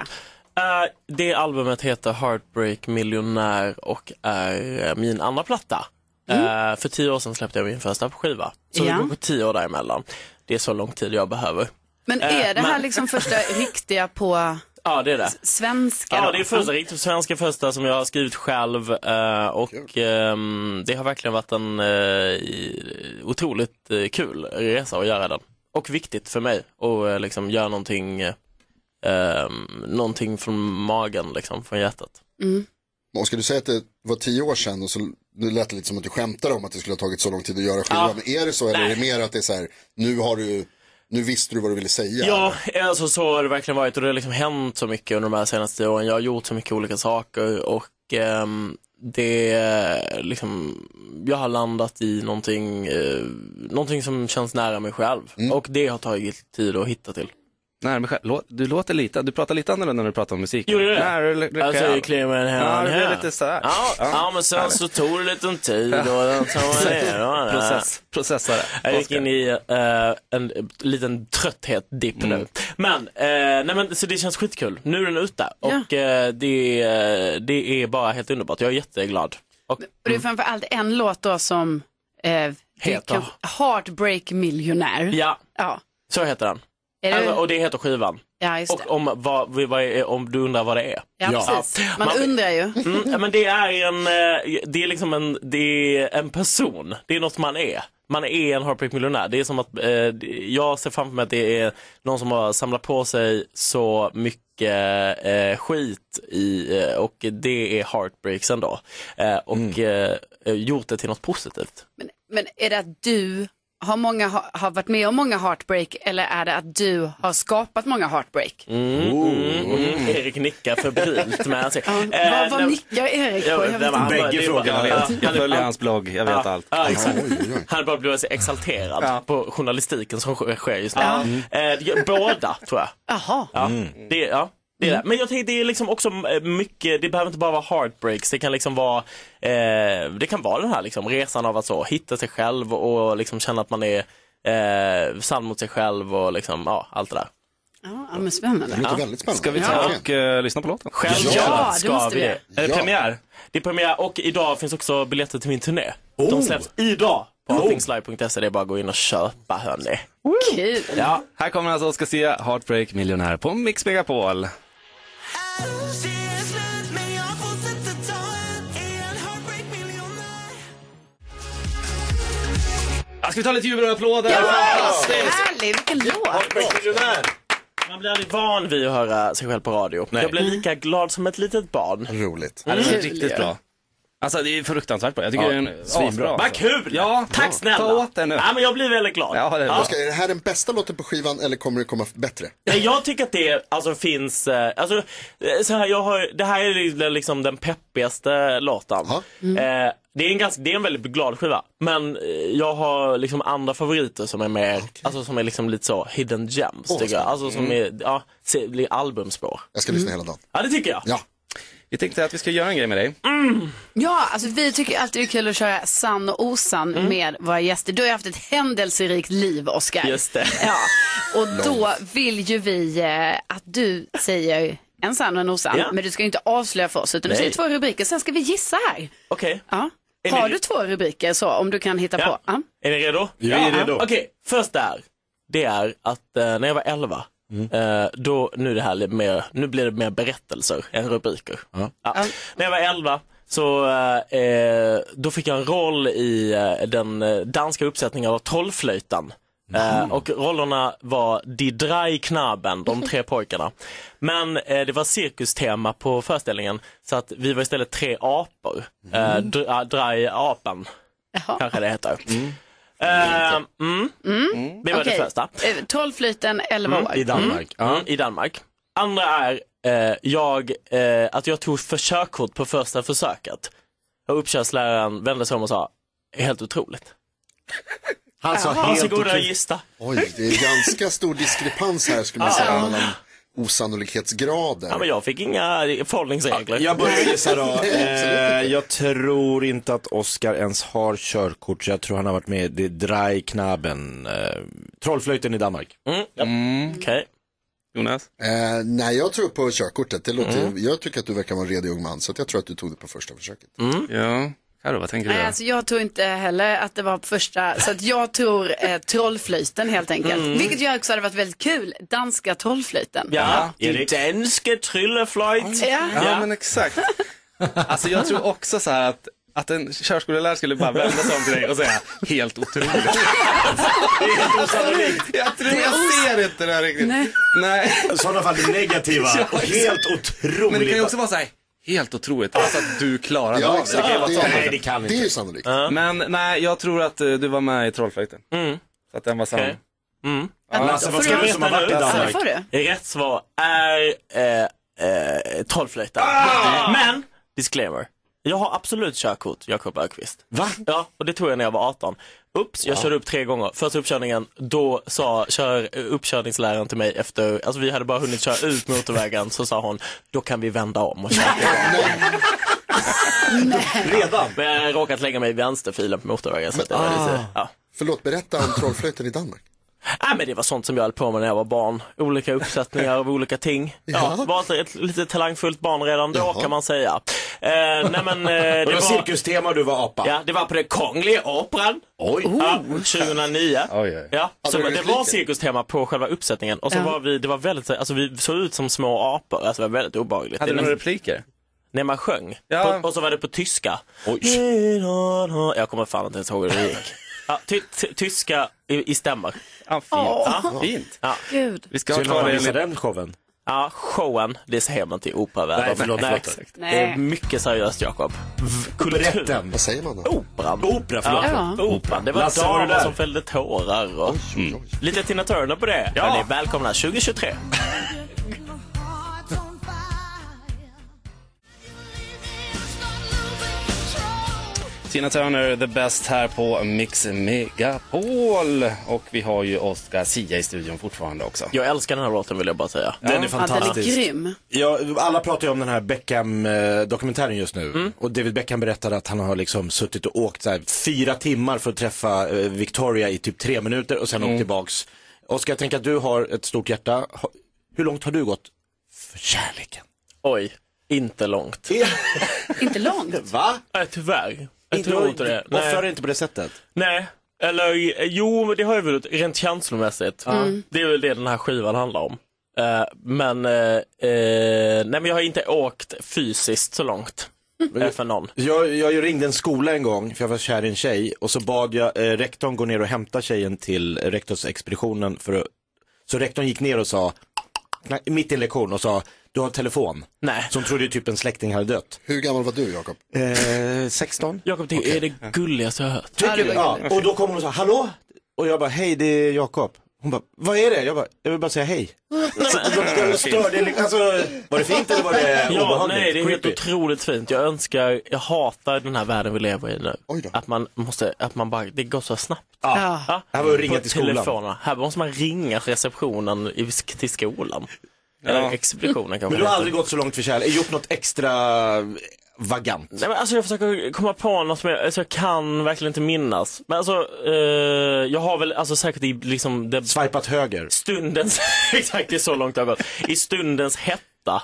[SPEAKER 16] Eh, det albumet heter Heartbreak Millionär och är eh, min andra platta. Eh, för tio år sedan släppte jag min första skiva. Så
[SPEAKER 3] Mm. Ja.
[SPEAKER 16] det går på tio år däremellan. Det är så lång tid jag behöver.
[SPEAKER 3] Men
[SPEAKER 16] Eh,
[SPEAKER 3] är det här
[SPEAKER 16] men- [laughs]
[SPEAKER 3] liksom första riktiga på
[SPEAKER 16] Ja, det är det.
[SPEAKER 3] svenska
[SPEAKER 16] Ja,
[SPEAKER 3] då?
[SPEAKER 16] det är första riktigt svenska första som jag har skrivit själv eh, och ehm, det har verkligen varit en eh, i- otroligt eh, kul resa att göra den. Och viktigt för mig att eh, liksom göra någonting, eh, ehm, någonting från magen, liksom, från hjärtat.
[SPEAKER 3] Mm.
[SPEAKER 4] Och ska du säga att det var tio år sedan och så nu lät det lite som att du skämtade om att det skulle ha tagit så lång tid att göra skivan.
[SPEAKER 16] Ja.
[SPEAKER 4] Men är det så eller är det
[SPEAKER 16] Nej.
[SPEAKER 4] mer att det är så här, nu har du, nu visste du vad du ville säga?
[SPEAKER 16] Ja, alltså så har det verkligen varit och det har liksom hänt så mycket under de här senaste åren. Jag har gjort så mycket olika saker och ehm, det är liksom, jag har landat i någonting, eh, någonting som känns nära mig själv och det har tagit tid att hitta till.
[SPEAKER 7] Nej, men själv, lå- du låter lite, du pratar lite annorlunda när du pratar om musik.
[SPEAKER 16] Gjorde du det?
[SPEAKER 7] Nej, du- du-
[SPEAKER 16] Alltså,
[SPEAKER 7] själv.
[SPEAKER 16] jag klämmer en
[SPEAKER 7] Ja,
[SPEAKER 16] hand
[SPEAKER 7] det blev
[SPEAKER 16] här.
[SPEAKER 7] lite så här.
[SPEAKER 16] Ja, ja. men sen så tog det lite tid och den tar man ner. och den här.
[SPEAKER 7] Process, processare.
[SPEAKER 16] Jag gick in i eh, en liten trötthet-dipp
[SPEAKER 7] Mm.
[SPEAKER 16] nu. Men, eh, nej men, så det känns skitkul. Nu är den ute och eh, det, eh, det är bara helt underbart. Jag är jätteglad. Och,
[SPEAKER 3] Och det är framförallt en låt då som eh,
[SPEAKER 16] Heter?
[SPEAKER 3] kan- Heartbreak Millionär.
[SPEAKER 16] ja,
[SPEAKER 3] Ja,
[SPEAKER 16] så heter den.
[SPEAKER 3] Är det-
[SPEAKER 16] Alltså, och det heter skivan.
[SPEAKER 3] ja just det.
[SPEAKER 16] Och om, vad, vad är, om du undrar vad det är.
[SPEAKER 3] Ja, precis. Man, undrar ju.
[SPEAKER 16] Mm, ja, men det är en, eh, det är liksom en, det är en person. Det är något man är. Man är en Heartbreak miljonär. Det är som att, eh, jag ser framför mig att det är någon som har samlat på sig så mycket eh, skit i, eh, och det är heartbreaksen då. Eh, och eh, gjort det till något positivt.
[SPEAKER 3] Men är det att du har, många, ha- har varit med om många heartbreak eller är det att du har skapat många heartbreak?
[SPEAKER 16] Mm, mm, mm. Erik nickar febrilt med ansiktet. Eh,
[SPEAKER 3] vad vad
[SPEAKER 16] nej-
[SPEAKER 3] nickar Erik på?
[SPEAKER 16] Ja,
[SPEAKER 3] Jag
[SPEAKER 16] det
[SPEAKER 3] vet
[SPEAKER 16] var-
[SPEAKER 3] inte.
[SPEAKER 16] bara-
[SPEAKER 7] Bägge
[SPEAKER 16] det är bara- Ja,
[SPEAKER 7] frågorna. Jag, vet. jag
[SPEAKER 16] ja,
[SPEAKER 7] följer
[SPEAKER 16] ja.
[SPEAKER 7] hans blogg, jag vet
[SPEAKER 16] Ja,
[SPEAKER 7] allt.
[SPEAKER 16] Ja, exakt. Han har bara blivit så exalterad på journalistiken som sk- sker just nu.
[SPEAKER 7] Ja.
[SPEAKER 16] Eh, det- båda tror jag.
[SPEAKER 3] Jaha.
[SPEAKER 16] Ja, det, ja, det är
[SPEAKER 7] Mm.
[SPEAKER 16] det. Men jag tänker det är liksom också eh, mycket, det behöver inte bara vara heartbreaks, det kan liksom vara, eh, det kan vara den här liksom resan av att så hitta sig själv och liksom känna att man är eh, sann mot sig själv och liksom, ja, allt det där.
[SPEAKER 3] Ja, ja, men spännande.
[SPEAKER 16] Ja.
[SPEAKER 7] Ska vi ta och eh, lyssna på låten?
[SPEAKER 16] Självklart
[SPEAKER 3] Ja, det
[SPEAKER 16] ska
[SPEAKER 3] måste
[SPEAKER 16] vi
[SPEAKER 3] vi.
[SPEAKER 16] det. Är det
[SPEAKER 7] Ja.
[SPEAKER 3] Oh.
[SPEAKER 16] premiär? Det är premiär och idag finns också biljetter till min turné. De släpps idag. på alltingslive.se. Det är bara att gå in och köpa hörni.
[SPEAKER 3] Kul!
[SPEAKER 7] Ja, här kommer alltså Oscar Sia, Heartbreak Millionaire på Mix Megapol. Ja, Ska vi ta lite jubel och applåder?
[SPEAKER 3] Ja!
[SPEAKER 7] Fantastiskt!
[SPEAKER 3] Härlig, vilken låt!
[SPEAKER 16] Man blir aldrig van vid att höra sig själv på radio. Jag blir lika glad som ett litet barn.
[SPEAKER 4] Roligt.
[SPEAKER 7] Ja, det var
[SPEAKER 16] Kul
[SPEAKER 7] riktigt
[SPEAKER 16] ju.
[SPEAKER 7] bra. Alltså det är fruktansvärt bra. Jag tycker
[SPEAKER 16] Ja,
[SPEAKER 7] det är en
[SPEAKER 16] svinbra,
[SPEAKER 7] asbra.
[SPEAKER 16] alltså.
[SPEAKER 7] Vad kul! Ja,
[SPEAKER 16] Tack snälla!
[SPEAKER 7] Ta åt den nu.
[SPEAKER 16] Ja, men jag blir väldigt glad.
[SPEAKER 4] Oskar, är det här den bästa låten på skivan eller kommer det komma bättre?
[SPEAKER 16] Nej, jag tycker att det alltså, finns, eh, alltså, eh, så här, jag har, det här är li- liksom den peppigaste låten.
[SPEAKER 4] Mm.
[SPEAKER 16] Eh, det, är en ganska, det är en väldigt glad skiva, men eh, jag har liksom andra favoriter som är mer, alltså som är liksom lite så hidden gems
[SPEAKER 7] Åh, vad
[SPEAKER 16] tycker jag.
[SPEAKER 7] spännande.
[SPEAKER 16] Alltså som är, ja, se- blir albumspår.
[SPEAKER 4] Mm. Jag ska lyssna hela dagen.
[SPEAKER 16] Ja, det tycker jag.
[SPEAKER 4] Ja.
[SPEAKER 7] Vi tänkte att vi ska göra en grej med dig.
[SPEAKER 3] Ja, alltså vi tycker alltid det är kul att köra sann och osann
[SPEAKER 16] Mm.
[SPEAKER 3] med våra gäster. Du har ju haft ett händelserikt liv, Oskar.
[SPEAKER 16] Just det.
[SPEAKER 3] Ja, och då vill ju vi eh, att du säger en sann och en osann,
[SPEAKER 16] Ja.
[SPEAKER 3] men du ska ju inte avslöja för oss, utan du
[SPEAKER 16] Nej.
[SPEAKER 3] säger två rubriker, sen ska vi gissa här.
[SPEAKER 16] Okej.
[SPEAKER 3] Ja.
[SPEAKER 16] Är
[SPEAKER 3] Har
[SPEAKER 16] ni-
[SPEAKER 3] du två rubriker så, om du kan hitta
[SPEAKER 16] Ja.
[SPEAKER 3] på? Ja.
[SPEAKER 16] Är ni redo?
[SPEAKER 3] Jag är redo.
[SPEAKER 16] Okej, först där. Det är att eh, när jag var 11, eh, då, nu, det här lite mer, nu blir det mer berättelser än rubriker. Ja. När jag var 11 så eh, eh, då fick jag en roll i eh, den eh, danska uppsättningen av Trollflöjtan. Eh, och rollerna var Die drei Knaben, de [laughs] tre pojkarna. Men eh, det var cirkustema på föreställningen så att vi var istället tre apor. Eh, dr- drei apen, kanske det heter. Eh, mm. Det var
[SPEAKER 3] Okej.
[SPEAKER 16] det första.
[SPEAKER 3] Eh, Trollflöjten, 11 år.
[SPEAKER 16] Mm. Mm. I Danmark. Andra är eh, jag, eh, att jag tog för körkort på första försöket. Och uppkörsläraren vände sig om och sa, helt otroligt.
[SPEAKER 2] Han
[SPEAKER 16] Alltså,
[SPEAKER 4] sa Alltså, helt
[SPEAKER 16] Varsågoda och
[SPEAKER 4] otroligt.
[SPEAKER 16] gissa.
[SPEAKER 4] Oj, det är ganska stor diskrepans här skulle man
[SPEAKER 16] Ja.
[SPEAKER 4] säga mellan osannolikhetsgrader.
[SPEAKER 16] Ja, men jag fick inga förhållningsregler. Mm.
[SPEAKER 4] jag börjar
[SPEAKER 2] gissa då.
[SPEAKER 4] Absolut
[SPEAKER 2] Eh, jag tror inte att Oscar ens har körkort, så jag tror han har varit med i Det Drei Knaben, eh, Trollflöjten i Danmark.
[SPEAKER 16] Mm. Okej.
[SPEAKER 7] Jonas?
[SPEAKER 4] Eh, nej, jag tror på körkortet. Det låter,
[SPEAKER 16] Mm.
[SPEAKER 4] Jag tycker att du verkar vara en redig ung man, så att jag tror att du tog det på första
[SPEAKER 2] [laughs]
[SPEAKER 4] försöket.
[SPEAKER 16] Mm.
[SPEAKER 7] Ja, Carro, vad tänker du?
[SPEAKER 3] Nej,
[SPEAKER 7] då?
[SPEAKER 3] alltså jag tror inte heller att det var på första, så att jag tror eh, trollflöjten helt enkelt.
[SPEAKER 16] Mm.
[SPEAKER 3] Vilket ju också hade varit väldigt kul, danska trollflöjten.
[SPEAKER 16] Ja, i danske trylleflöjt.
[SPEAKER 3] Ja.
[SPEAKER 7] Ja, men exakt. Alltså jag tror också så här att, att en körskolelärare skulle bara vända sig om till dig och säga helt otroligt.
[SPEAKER 2] Det är helt
[SPEAKER 7] osannolikt. Jag tror jag ser inte det här riktigt. Nej.
[SPEAKER 2] I sådana fall det negativa.
[SPEAKER 7] [laughs] Ja, exakt.
[SPEAKER 2] helt otroligt.
[SPEAKER 7] Men det kan ju också vara så här, helt otroligt. Alltså att du klarade
[SPEAKER 2] Ja,
[SPEAKER 7] av
[SPEAKER 2] exakt.
[SPEAKER 7] kan ju vara
[SPEAKER 2] Det-
[SPEAKER 7] sånt.
[SPEAKER 2] nej, det kan inte. Det är ju sannolikt.
[SPEAKER 7] Ja. Men nej, jag tror att eh, du var med i Trollflöjten. Så att den var sann.
[SPEAKER 16] Mm. Okej. Mm.
[SPEAKER 7] Ja. Lasse, vad tror du som har varit i Danmark?
[SPEAKER 3] Får du?
[SPEAKER 16] Rätt svar är eh, eh, trollflöjten.
[SPEAKER 3] Ah!
[SPEAKER 16] Men, disclaimer. Jag har absolut körkort, Jakob Ökvist. Va? Ja, och det tog jag när jag var 18. Ups, jag körde upp tre gånger. Första uppkörningen, då sa kör, uppkörningsläraren till mig efter, alltså vi hade bara hunnit köra ut motorvägen, så sa hon, då kan vi vända om och köra Redan? Men jag har råkat lägga mig i vänsterfilen på motorvägen. Så att det var lite, ja.
[SPEAKER 4] Förlåt, berätta om trollflöjten i Danmark.
[SPEAKER 16] Nej, men det var sånt som jag höll på med när jag var barn. Olika uppsättningar av olika ting. Ja,
[SPEAKER 2] Ja.
[SPEAKER 16] Var ett, ett lite talangfullt barn redan då
[SPEAKER 2] Jaha.
[SPEAKER 16] kan man säga. Eh, nej,
[SPEAKER 2] [laughs]
[SPEAKER 16] men, eh, det
[SPEAKER 2] det var
[SPEAKER 16] var,
[SPEAKER 2] cirkustema och du var apa.
[SPEAKER 16] ja, det var på den Kungliga Operan.
[SPEAKER 2] Oj.
[SPEAKER 16] Ja,
[SPEAKER 2] [laughs]
[SPEAKER 16] 2009. Ja, så
[SPEAKER 2] du
[SPEAKER 16] det var
[SPEAKER 2] repliker?
[SPEAKER 16] cirkustema på själva uppsättningen och så
[SPEAKER 2] Ja.
[SPEAKER 16] var vi, det var väldigt, alltså vi såg ut som små apor, alltså det var väldigt obehagligt.
[SPEAKER 7] Hade
[SPEAKER 16] Det-
[SPEAKER 7] du några repliker?
[SPEAKER 16] När man sjöng.
[SPEAKER 7] Ja.
[SPEAKER 16] På, och så var det på tyska. Jag kommer fan inte ens ihåg hur det
[SPEAKER 7] [laughs]
[SPEAKER 16] gick. Ja, ty, ty, tyska i, i stämmer.
[SPEAKER 7] Ja, fint.
[SPEAKER 16] Ja.
[SPEAKER 7] Fint.
[SPEAKER 16] Ja.
[SPEAKER 3] Gud.
[SPEAKER 7] Vi ska ha kvar det enligt-
[SPEAKER 2] den showen.
[SPEAKER 16] Ja, showen, det ser man inte i operavärlden.
[SPEAKER 2] Nej, förlåt, förlåt.
[SPEAKER 16] exakt.
[SPEAKER 3] Nej.
[SPEAKER 16] Det är mycket seriöst, Jakob. V- Kultur.
[SPEAKER 4] Vad säger man då?
[SPEAKER 16] Operan.
[SPEAKER 2] Opera,
[SPEAKER 4] förlåt.
[SPEAKER 16] Ja.
[SPEAKER 4] Ja.
[SPEAKER 16] Operan. Det var
[SPEAKER 4] Lasse, var du
[SPEAKER 16] damer
[SPEAKER 4] där?
[SPEAKER 16] som fällde tårar och Mm. lite Tina Turner på det. Ja. Hörni, välkomna 2023.
[SPEAKER 7] Tina Turner, the best här på Mix Megapol. Och vi har ju Oscar Sia i studion fortfarande också.
[SPEAKER 16] Jag älskar den här låten vill jag bara säga.
[SPEAKER 2] Den är fantastisk.
[SPEAKER 3] Ja, den är grym.
[SPEAKER 2] Ja, alla pratar ju om den här Beckham-dokumentären just nu.
[SPEAKER 16] Mm.
[SPEAKER 2] Och David Beckham berättade att han har liksom suttit och åkt så här, fyra timmar för att träffa eh, Victoria i typ tre minuter och sen
[SPEAKER 16] Mm.
[SPEAKER 2] åkt tillbaks. Oskar, jag tänker att du har ett stort hjärta. Ha- Hur långt har du gått för kärleken?
[SPEAKER 16] Oj, inte långt.
[SPEAKER 3] Inte långt.
[SPEAKER 2] Va?
[SPEAKER 16] Äh, tyvärr. Jag tror inte det. Nej.
[SPEAKER 2] Offrar inte på det sättet.
[SPEAKER 16] Nej, eller jo, men det har jag väl rent känslomässigt.
[SPEAKER 2] Mm.
[SPEAKER 16] Det är väl det den här skivan handlar om. Eh, men, eh, eh, nej men jag har inte åkt fysiskt så långt.
[SPEAKER 2] Mm.
[SPEAKER 16] eh, för någon.
[SPEAKER 2] Jag, jag ringde en skola en gång, för jag var kär i en tjej, och så bad jag eh, rektorn gå ner och hämta tjejen till eh, rektorsexpeditionen. För att, så rektorn gick ner och sa, knack, mitt i en lektion, och sa, du har telefon.
[SPEAKER 16] Nej.
[SPEAKER 2] Som trodde ju typ en släkting hade dött.
[SPEAKER 4] Hur gammal var du Jakob?
[SPEAKER 2] Eh, 16.
[SPEAKER 16] Jakob, det är det gulligaste jag har hört.
[SPEAKER 2] Tycker du? Ja. Och då kom hon och sa, hallå? Och jag bara, hej det är Jakob. Hon bara, vad är det? Jag bara, jag vill bara säga hej. Så då- då störde jag liksom- alltså, var det fint eller var det
[SPEAKER 16] [laughs] Ja,
[SPEAKER 2] obehagligt?
[SPEAKER 16] nej, det är helt
[SPEAKER 2] Creepy.
[SPEAKER 16] otroligt fint. Jag önskar, jag hatar den här världen vi lever i nu. Att man måste, att man bara, det går så snabbt.
[SPEAKER 2] Ja. Det här var ju ringa
[SPEAKER 16] På
[SPEAKER 2] till skolan.
[SPEAKER 16] telefonerna. Här måste man ringa till receptionen i, till skolan. Eller expeditionen kanske.
[SPEAKER 2] Men du har
[SPEAKER 16] heter.
[SPEAKER 2] aldrig gått så långt för kärlek, gjort något extra vagant?
[SPEAKER 16] Nej, men alltså jag försöker komma på något som jag, alltså jag kan verkligen inte minnas. Men alltså, eh, jag har väl alltså säkert i liksom... Det...
[SPEAKER 2] Swipat höger?
[SPEAKER 16] Stundens, [laughs] exakt det är så långt jag har gått. I stundens hetta,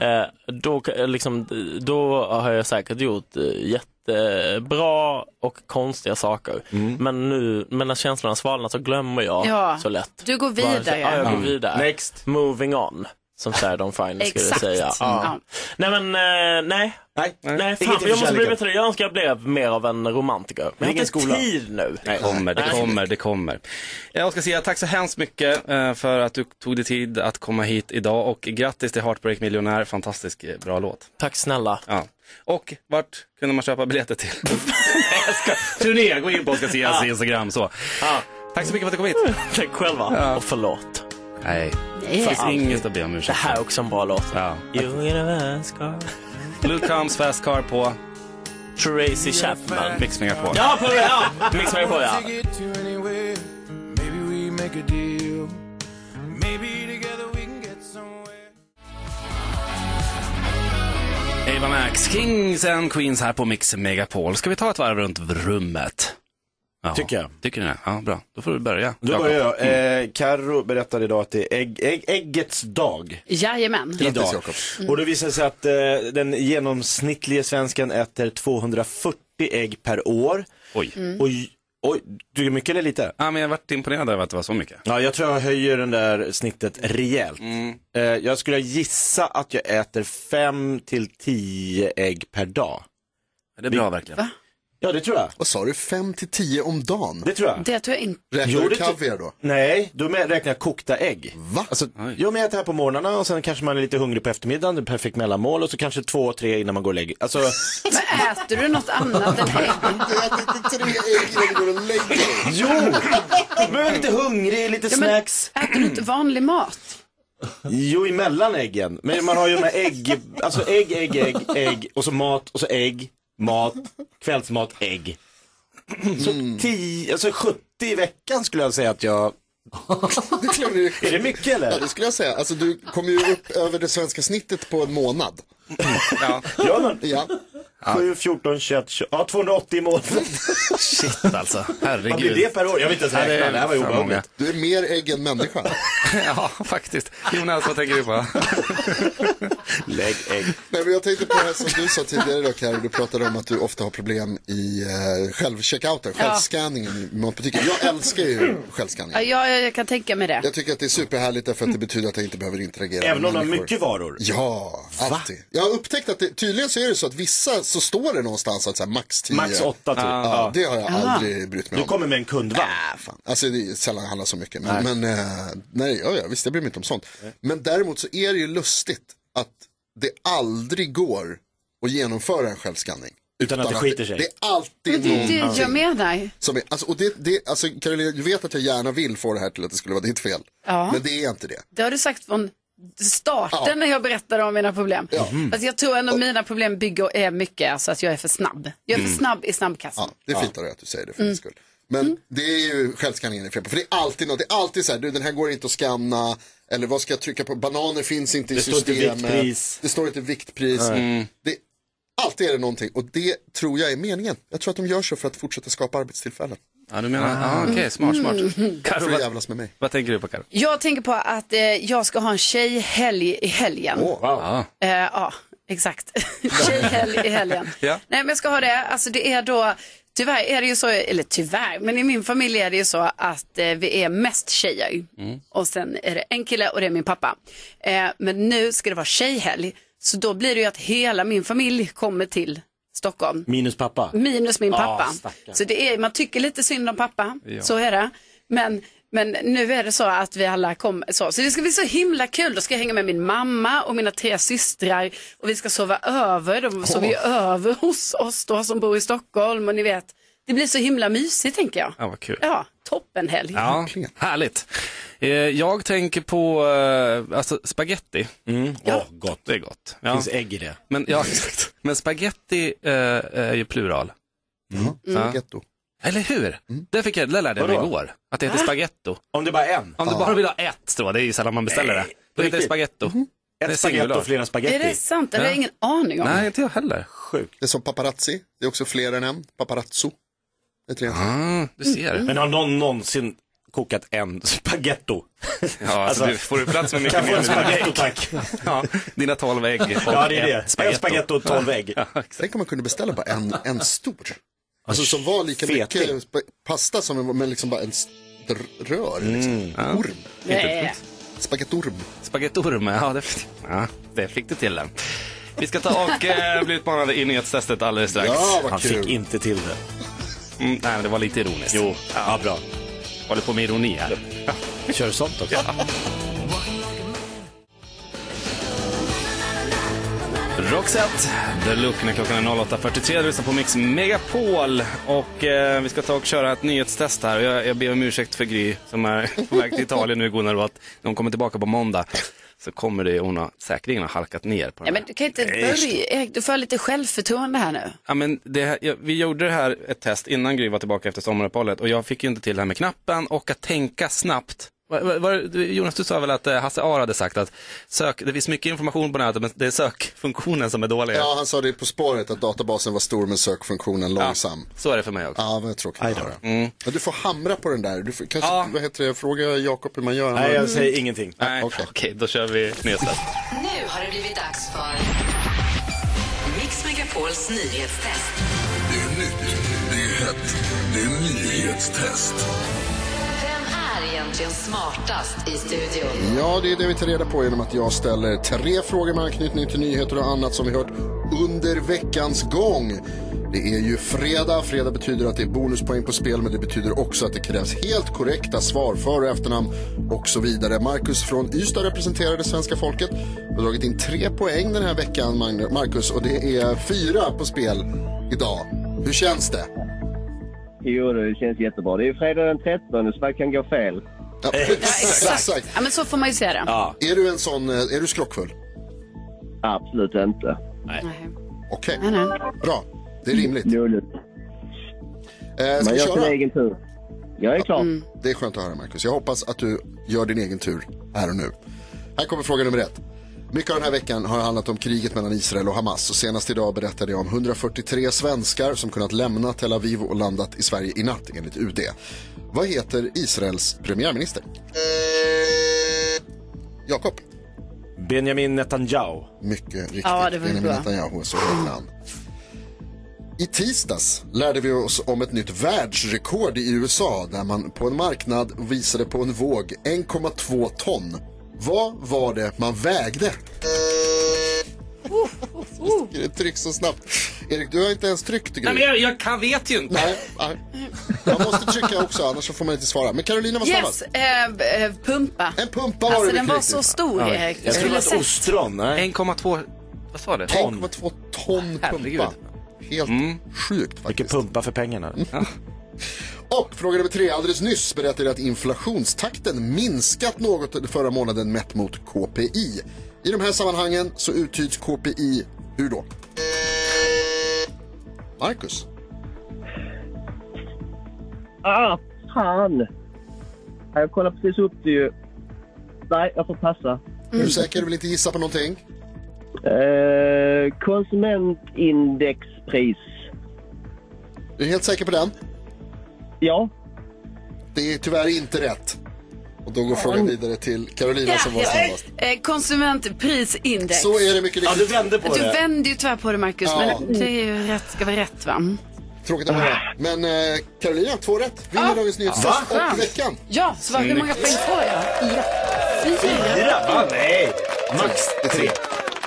[SPEAKER 16] eh, då, eh, liksom, då har jag säkert gjort eh, jättebra och konstiga saker.
[SPEAKER 2] Mm.
[SPEAKER 16] Men nu, men när känslorna svalnar så glömmer jag
[SPEAKER 3] Ja.
[SPEAKER 16] så lätt.
[SPEAKER 3] Du går
[SPEAKER 16] Bara så-
[SPEAKER 3] vidare.
[SPEAKER 16] Ja, jag går
[SPEAKER 3] Mm.
[SPEAKER 16] vidare. Next. Moving on. Som Sheridan Fine skulle
[SPEAKER 3] Exakt. Mm.
[SPEAKER 16] säga.
[SPEAKER 3] Ja.
[SPEAKER 16] Nej men, eh, nej.
[SPEAKER 2] Mm. Nej,
[SPEAKER 16] nej fan,
[SPEAKER 7] Ingenting för
[SPEAKER 16] jag måste bli
[SPEAKER 7] kärleken.
[SPEAKER 16] bättre. Jag önskar jag blev mer av en romantiker. Men jag har
[SPEAKER 7] Ingen
[SPEAKER 16] inte
[SPEAKER 7] skola.
[SPEAKER 16] tid nu.
[SPEAKER 7] Det kommer, det kommer, det kommer. Jag ska säga tack så hemskt mycket eh, för att du tog dig tid att komma hit idag och grattis till Heartbreak Miljonär, fantastisk eh, bra låt.
[SPEAKER 16] Tack snälla.
[SPEAKER 7] Ja. Och vart kunde man köpa
[SPEAKER 16] [laughs]
[SPEAKER 7] biljetter till? Nej, jag ska- Turné, gå in på Oskar Instagram så. Tack så mycket för att du kom hit.
[SPEAKER 16] Tack själva
[SPEAKER 7] Ja.
[SPEAKER 16] och förlåt.
[SPEAKER 7] Nej,
[SPEAKER 16] Nej.
[SPEAKER 7] det finns inget att be om ursäkt
[SPEAKER 16] Det här är också en bra låt.
[SPEAKER 7] Ja.
[SPEAKER 16] You universe car.
[SPEAKER 7] Blue Comes Fast Car på
[SPEAKER 16] Tracy Chapman.
[SPEAKER 7] Mix Megapol.
[SPEAKER 16] Ja, på ja. Mix mig på ja.
[SPEAKER 13] Take it to anywhere. Maybe we make a deal. Maybe together we can get somewhere.
[SPEAKER 7] Ava Max, Kings and Queens här på Mix Megapol. Ska vi ta ett varv runt rummet? Ja.
[SPEAKER 2] Tycker jag.
[SPEAKER 7] Tycker ni det? Ja, bra. Då får du börja.
[SPEAKER 2] Då
[SPEAKER 7] Jakob.
[SPEAKER 2] börjar jag.
[SPEAKER 7] Mm.
[SPEAKER 2] Eh, Carro berättade idag att det är ägg, ägg, äggets dag.
[SPEAKER 3] Jajamän.
[SPEAKER 2] Idag. Och det visar det sig att eh, den genomsnittlige svensken äter 240 ägg per år. Mm.
[SPEAKER 7] Oj.
[SPEAKER 2] Och, oj, tycker du mycket eller lite?
[SPEAKER 7] Ja, men jag varit imponerad över att det var så mycket.
[SPEAKER 2] Ja, jag tror jag höjer den där snittet rejält.
[SPEAKER 7] Mm.
[SPEAKER 2] Eh, jag skulle gissa att jag äter 5 till 10 ägg per dag.
[SPEAKER 7] Det är bra verkligen.
[SPEAKER 2] Ja, det tror jag.
[SPEAKER 4] Vad sa du, 5 till 10 om dagen?
[SPEAKER 2] Det tror jag.
[SPEAKER 3] Det tror jag inte.
[SPEAKER 4] Räknar
[SPEAKER 2] Jo,
[SPEAKER 4] du
[SPEAKER 2] det tror-
[SPEAKER 4] kaviar då?
[SPEAKER 2] Nej, då med- räknar jag kokta ägg.
[SPEAKER 4] Va?
[SPEAKER 2] Alltså, jag äter här på morgnarna och sen kanske man är lite hungrig på eftermiddagen, det är perfekt mellanmål och så kanske två, tre innan man går och lägger
[SPEAKER 4] [laughs]
[SPEAKER 2] alltså,
[SPEAKER 3] Men äter du något annat än
[SPEAKER 16] [laughs]
[SPEAKER 3] ägg?
[SPEAKER 2] Jo! Men jag är lite hungrig, lite
[SPEAKER 3] Ja, men
[SPEAKER 2] snacks.
[SPEAKER 3] Äter du inte vanlig mat?
[SPEAKER 2] Jo, emellan äggen. Men man har ju de här ägg, alltså ägg, ägg, ägg, ägg och så mat och så ägg, mat, kvällsmat, ägg. Så
[SPEAKER 4] Mm.
[SPEAKER 2] 10, alltså 70 i veckan skulle jag säga att jag, är det mycket eller?
[SPEAKER 4] Ja, det skulle jag säga. Alltså, du kommer ju upp över det svenska snittet på en månad.
[SPEAKER 7] Ja.
[SPEAKER 2] Gör man?
[SPEAKER 4] Ja.
[SPEAKER 2] 7, 14, 21, 20, ja 280 i [laughs] månaden. Eh.
[SPEAKER 7] Shit alltså, [laughs] herregud.
[SPEAKER 2] Vad blir det per år? Jag vet inte ens räkna, det här var ju
[SPEAKER 7] för många.
[SPEAKER 2] obehagligt.
[SPEAKER 4] Du är mer ägg än människa.
[SPEAKER 7] ja, faktiskt. Jonas, vad tänker du på?
[SPEAKER 2] [laughs] Lägg ägg.
[SPEAKER 4] Nej, men jag tänkte på det här som du sa tidigare då, Karo. Du pratade om att du ofta har problem i eh, självcheckouten,
[SPEAKER 3] Ja.
[SPEAKER 4] självscanningen i matbutiker. Jag älskar ju självscanning.
[SPEAKER 3] Ja, jag, jag kan tänka mig det.
[SPEAKER 4] Jag tycker att det är superhärligt därför att det betyder att jag inte behöver interagera
[SPEAKER 2] Även om
[SPEAKER 4] med
[SPEAKER 2] de har
[SPEAKER 4] människor.
[SPEAKER 2] mycket varor?
[SPEAKER 4] Ja, alltid. Jag har upptäckt att det, tydligen så är det så att vissa så står det någonstans att så här, max 10.
[SPEAKER 2] Max åtta, typ.
[SPEAKER 4] Ja,
[SPEAKER 2] Ja.
[SPEAKER 4] Det har jag
[SPEAKER 2] Ah.
[SPEAKER 4] aldrig brytt mig
[SPEAKER 2] Du
[SPEAKER 4] om.
[SPEAKER 2] kommer med en kundvagn.
[SPEAKER 4] Alltså det är sällan jag handlar så mycket. Men nej, men, eh, nej ja, ja, visst jag bryr mig inte om sånt. Men däremot så är det ju lustigt att det aldrig går att genomföra en självskanning.
[SPEAKER 2] Utan att det skiter sig.
[SPEAKER 4] Det är
[SPEAKER 3] Det är
[SPEAKER 4] alltid
[SPEAKER 3] det
[SPEAKER 4] någonting.
[SPEAKER 3] jag menar.
[SPEAKER 4] Som är, alltså, och det, det, alltså, Karolina, du vet att jag gärna vill få det här till att det skulle vara ditt fel.
[SPEAKER 3] Ja.
[SPEAKER 4] Men det är inte det.
[SPEAKER 3] Det har du sagt från starten
[SPEAKER 4] Ja.
[SPEAKER 3] när jag berättade om mina problem. Mm.
[SPEAKER 4] Ja.
[SPEAKER 3] Fast jag tror ändå mina problem bygger är mycket alltså att jag är för snabb. Jag är för
[SPEAKER 4] Mm.
[SPEAKER 3] snabb i snabbkassan.
[SPEAKER 4] Ja, det är fint av dig att du säger det för
[SPEAKER 3] Mm.
[SPEAKER 4] din skull. Men det är ju självskanningen i fel på. För det är alltid något. Det är alltid så här, du den här går inte att skanna. Eller vad ska jag trycka på? Bananer finns inte i
[SPEAKER 2] Det står inte
[SPEAKER 4] systemet.
[SPEAKER 2] viktpris.
[SPEAKER 4] Det står inte viktpris.
[SPEAKER 2] Nej. Mm.
[SPEAKER 4] Det, alltid är det någonting. Och det tror jag är meningen. Jag tror att de gör så för att fortsätta skapa arbetstillfällen.
[SPEAKER 7] Ja, du menar, ah, okej, smart, smart.
[SPEAKER 3] Mm.
[SPEAKER 7] Karo,
[SPEAKER 4] För
[SPEAKER 7] vad-
[SPEAKER 4] att jävlas med mig.
[SPEAKER 7] Vad tänker du på Karo?
[SPEAKER 3] Jag tänker på att eh, jag ska ha en tjejhelg i helgen.
[SPEAKER 7] wow.
[SPEAKER 3] Eh, ja. Exakt. [laughs] Tjejhelg i helgen.
[SPEAKER 7] Ja.
[SPEAKER 3] Nej, men jag ska ha det. Alltså det är då, tyvärr är det ju så, eller tyvärr, men i min familj är det ju så att eh, vi är mest tjejer. Och sen är det en kille och det är min pappa. Eh, men nu ska det vara tjejhelg, så då blir det ju att hela min familj kommer till Stockholm.
[SPEAKER 2] Minus pappa.
[SPEAKER 3] Minus min
[SPEAKER 2] Ah,
[SPEAKER 3] pappa.
[SPEAKER 2] stackarn.
[SPEAKER 3] så det är, man tycker lite synd om pappa,
[SPEAKER 2] Ja.
[SPEAKER 3] så är det. Men, men nu är det så att vi alla kommer så. Så det ska bli så himla kul. Då ska jag hänga med min mamma och mina tre systrar och vi ska sova över. De sover ju över hos oss då som bor i Stockholm och ni vet. Det blir så himla mysigt tänker jag.
[SPEAKER 7] Ja, vad kul.
[SPEAKER 3] Ja, toppenhelg.
[SPEAKER 7] Ja, härligt. Eh, Jag tänker på eh, alltså, spaghetti. Mm.
[SPEAKER 2] Ja. Åh, gott.
[SPEAKER 7] Det är gott.
[SPEAKER 2] Finns ägg i det.
[SPEAKER 7] Men,
[SPEAKER 2] [laughs]
[SPEAKER 7] ja, exakt. Men spaghetti eh, är ju plural.
[SPEAKER 4] Mm. Spaghetto. Mm.
[SPEAKER 7] Eller hur? Det, fick jag, det lärde jag mig
[SPEAKER 2] Vadå?
[SPEAKER 7] igår. Att det heter
[SPEAKER 2] Va?
[SPEAKER 7] spaghetto.
[SPEAKER 2] Om det bara är en?
[SPEAKER 7] Om du
[SPEAKER 2] Ja.
[SPEAKER 7] bara vill ha ett då, det är ju sällan man beställer
[SPEAKER 2] Nej,
[SPEAKER 7] det. Då heter det
[SPEAKER 2] riktigt.
[SPEAKER 7] spaghetto.
[SPEAKER 4] Mm.
[SPEAKER 7] Det är
[SPEAKER 2] Ett spagetto
[SPEAKER 7] singular.
[SPEAKER 2] och flera
[SPEAKER 3] Är det sant? Det har jag ingen aning om.
[SPEAKER 7] Nej, inte jag heller.
[SPEAKER 2] Sjukt.
[SPEAKER 4] Det är som paparazzi. Det är också fler än en. Paparazzo. Det är tre.
[SPEAKER 7] Ah, du ser.
[SPEAKER 2] Men har någon någonsin kokat en spagetto?
[SPEAKER 7] Ja, alltså, du får du plats med mycket
[SPEAKER 2] kan
[SPEAKER 7] mer
[SPEAKER 2] få en
[SPEAKER 7] nu?
[SPEAKER 2] spagetto tack.
[SPEAKER 7] Ja, dina tolv ägg och
[SPEAKER 2] [laughs] Ja, det är det.
[SPEAKER 7] ett
[SPEAKER 2] En spagetto och tolv
[SPEAKER 7] [laughs]
[SPEAKER 2] ägg.
[SPEAKER 4] Tänk om man kunde beställa bara en, en stor. Alltså som var lika
[SPEAKER 2] Feting.
[SPEAKER 4] mycket sp- pasta som en, men liksom bara en st- rör. Liksom.
[SPEAKER 2] Mm.
[SPEAKER 4] Orm.
[SPEAKER 3] Nej.
[SPEAKER 4] Spagettorm.
[SPEAKER 7] Spagettorm, ja det, ja, det fick du till den. Vi ska ta och eh, bli utmanade i nyhetstestet alldeles strax.
[SPEAKER 2] Ja, vad Han kul. fick inte till det.
[SPEAKER 7] Mm, nej, men det var lite ironiskt. Jo, ja, bra. Var du på med ironi här?
[SPEAKER 2] [laughs] Kör sånt också.
[SPEAKER 7] Roxette, The Look, när klockan är 08.43. Du lyssnar på Mix Megapol. Och eh, vi ska ta och köra ett nyhetstest här. Och Jag, jag ber om ursäkt för Gry som är [laughs] på väg till Italien nu, god nervat. När hon kommer tillbaka på måndag så kommer det, hon har säkerligen har halkat ner på den
[SPEAKER 3] Ja, men
[SPEAKER 7] här.
[SPEAKER 3] du kan inte
[SPEAKER 7] Nej.
[SPEAKER 3] börja. Erik, Du får ha lite självförtroende här nu.
[SPEAKER 7] Ja, men det, här- ja, vi gjorde det här ett test innan Gry var tillbaka efter sommaruppehållet och jag fick ju inte till det här med knappen och att tänka snabbt. Var, var, var, du- Jonas, du sa väl att eh, Hasse Aro hade sagt att sök, det finns mycket information på nätet men det är sökfunktionen som är dålig.
[SPEAKER 4] Ja, han sa det på spåret att databasen var stor men sökfunktionen långsam.
[SPEAKER 7] Så är det för mig också. Mm.
[SPEAKER 4] Ja, vad tråkigt att höra. Ja, du får hamra på den där. Du får, kanske, vad heter det, fråga Jakob hur man gör.
[SPEAKER 2] Nej, jag säger ingenting.
[SPEAKER 7] Nej, okej, då kör vi nyhetstest.
[SPEAKER 6] Nu har det blivit dags för Mix Megapols nyhetstest.
[SPEAKER 13] Det är nytt, det är hett, det är nyhetstest.
[SPEAKER 6] Vem är egentligen smartast i studion?
[SPEAKER 4] Ja, det är det vi tar reda på genom att jag ställer tre frågor med anknytning till nyheter och annat som vi hört under veckans gång. Det är ju fredag. Fredag betyder att det är bonuspoäng på spel, men det betyder också att det krävs helt korrekta svar, för och efternamn och så vidare. Marcus från Ystad representerar det svenska folket. Du har dragit in tre poäng den här veckan, Magnus- Marcus, och det är fyra på spel idag. Hur känns det?
[SPEAKER 17] Jo, det känns jättebra. Det är ju fredag den 13, så vad kan gå fel?
[SPEAKER 4] Exakt.
[SPEAKER 3] Ja, men så får man ju se det.
[SPEAKER 4] Är du en sån, eh, är du skrockfull?
[SPEAKER 17] Absolut inte.
[SPEAKER 4] Nej. Okej, bra. Det är rimligt. Eh, ska
[SPEAKER 17] Men
[SPEAKER 4] vi
[SPEAKER 17] jag har sin
[SPEAKER 4] köra?
[SPEAKER 17] egen tur. Jag är klar.
[SPEAKER 2] Mm.
[SPEAKER 4] Det är skönt att höra, Marcus. Jag hoppas att du gör din egen tur här och nu. Här kommer fråga nummer ett. Mycket av den här veckan har handlat om kriget mellan Israel och Hamas och senast idag berättade jag om 143 svenskar som kunnat lämna Tel Aviv och landat i Sverige i natt enligt UD. Vad heter Israels premiärminister? Jakob.
[SPEAKER 2] Benjamin Netanyahu.
[SPEAKER 4] Mycket riktigt.
[SPEAKER 2] Ja, det var ju
[SPEAKER 4] Benjamin
[SPEAKER 2] bra.
[SPEAKER 4] Netanyahu är så högt namn. I tisdags lärde vi oss om ett nytt världsrekord i USA där man på en marknad visade på en våg 1,2 ton. Vad var det man vägde? Det trycks så snabbt. Erik, du har inte ens tryckt
[SPEAKER 7] Nej, men jag, jag kan, vet ju inte.
[SPEAKER 4] Nej, nej. Man måste trycka också, annars så får man inte svara. Men Carolina var snabbast.
[SPEAKER 3] Yes, eh, b- eh, pumpa.
[SPEAKER 4] En pumpa
[SPEAKER 3] alltså,
[SPEAKER 4] var det
[SPEAKER 3] den var
[SPEAKER 4] riktigt.
[SPEAKER 3] så stor,
[SPEAKER 4] Ja.
[SPEAKER 3] Erik.
[SPEAKER 4] Jag
[SPEAKER 3] skulle
[SPEAKER 4] trodde
[SPEAKER 3] sett.
[SPEAKER 4] att ostron, nej.
[SPEAKER 7] 1,2... Vad sa du?
[SPEAKER 4] 1,2 ton
[SPEAKER 7] Herregud.
[SPEAKER 4] pumpa. Helt sjukt faktiskt.
[SPEAKER 2] Vilken Mm. pumpa
[SPEAKER 4] [laughs]
[SPEAKER 2] för pengarna.
[SPEAKER 4] Och fråga nummer tre. Alldeles nyss berättade jag att inflationstakten minskat något förra månaden mätt mot KPI. I de här sammanhangen så uttyds KPI hur då? Marcus?
[SPEAKER 17] Ah, fan! Jag kollade precis upp det ju. Nej, jag får passa.
[SPEAKER 4] Är du säker? Du vill inte gissa på någonting?
[SPEAKER 17] Eh, konsumentindexpris.
[SPEAKER 4] Du är helt säker på den?
[SPEAKER 17] Ja.
[SPEAKER 4] Det är tyvärr inte rätt. Och då går frågan vidare till Carolina som var snabbast.
[SPEAKER 3] Eh, Konsumentprisindex.
[SPEAKER 4] Så är det mycket riktigt. Ja, du vände på
[SPEAKER 3] du
[SPEAKER 4] det.
[SPEAKER 3] Du vände ju tyvärr på det, Marcus.
[SPEAKER 4] Ja.
[SPEAKER 3] Men det är ju rätt, ska vara rätt, va?
[SPEAKER 4] Tråkigt att höra. Men eh, Carolina, två rätt. Vinner Dagens Nyhetstest och veckan.
[SPEAKER 3] Ja, så vad, hur många poäng får jag? Ja.
[SPEAKER 4] Fyra, va?
[SPEAKER 19] Nej!
[SPEAKER 4] Max tre.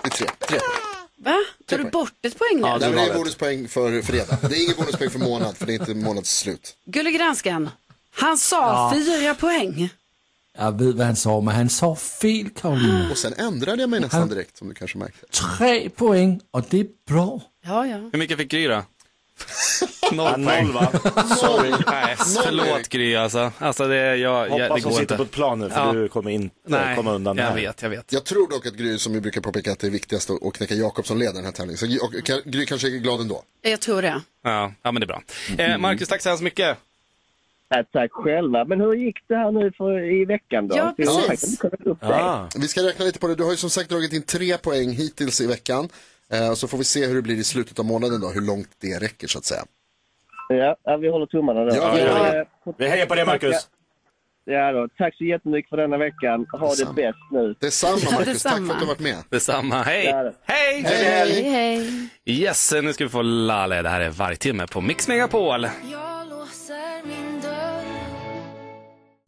[SPEAKER 4] Det är tre. tre.
[SPEAKER 3] Va? Tar du bort ett poäng nu?
[SPEAKER 4] Nej, men det är bonuspoäng för fredag. Det är ingen bonuspoäng för månad, för det är inte månads slut.
[SPEAKER 3] Gullig Dansken, han sa
[SPEAKER 5] Ja.
[SPEAKER 3] fyra poäng.
[SPEAKER 5] Jag vet vad han sa, men han sa fel Karolina.
[SPEAKER 4] Och sen ändrade jag mig nästan direkt, som du kanske märkte.
[SPEAKER 5] Tre poäng och det är bra.
[SPEAKER 3] Ja, ja.
[SPEAKER 7] Hur mycket fick Gry då? Noll
[SPEAKER 19] noll, va?
[SPEAKER 7] Sorry. Nej,
[SPEAKER 19] Noll.
[SPEAKER 7] Äh, förlåt Gry alltså. Alltså det, jag, jag, det
[SPEAKER 19] Hoppas
[SPEAKER 7] går
[SPEAKER 19] hon sitter
[SPEAKER 7] inte.
[SPEAKER 19] på ett plan nu för
[SPEAKER 7] Ja.
[SPEAKER 19] du kommer inte
[SPEAKER 7] Nej,
[SPEAKER 19] komma undan
[SPEAKER 7] jag
[SPEAKER 19] det här.
[SPEAKER 7] vet, jag vet.
[SPEAKER 4] Jag tror dock att Gry, som vi brukar påpeka, att det är viktigast att att knäcka Jakob som leder den här tävlingen. Så Gry- Gry kanske är glad ändå.
[SPEAKER 3] Jag tror det.
[SPEAKER 7] Ja, ja men det är bra. Eh, Marcus, tack så hemskt mycket.
[SPEAKER 17] Ja, tack själva. Men hur gick det här nu för, i veckan då?
[SPEAKER 4] Ja,
[SPEAKER 17] För jag har
[SPEAKER 4] precis. Ah.
[SPEAKER 17] faktiskt inte kollat upp dig.
[SPEAKER 4] Vi ska räkna lite på det. Du har ju som sagt dragit in tre poäng hittills i veckan. Eh, så får vi se hur det blir i slutet av månaden då, hur långt det räcker så att säga.
[SPEAKER 17] Ja, ja, vi håller tummarna där.
[SPEAKER 4] Ja, vi gör det.
[SPEAKER 17] Eh,
[SPEAKER 4] Vi hejar på dig, Marcus.
[SPEAKER 17] Ja, då. Tack så jättemycket för denna veckan. Ha det,
[SPEAKER 4] Detsamma.
[SPEAKER 17] bäst nu.
[SPEAKER 4] Detsamma,
[SPEAKER 7] Marcus. Tack för Detsamma. att du har varit
[SPEAKER 4] med.
[SPEAKER 7] Detsamma, hej!
[SPEAKER 17] Ja, det.
[SPEAKER 7] Hej!
[SPEAKER 3] Hej, hej.
[SPEAKER 7] Yes, eh, nu ska vi få Laleh. Det här är Vargtimme på Mix Megapol.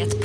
[SPEAKER 6] Ett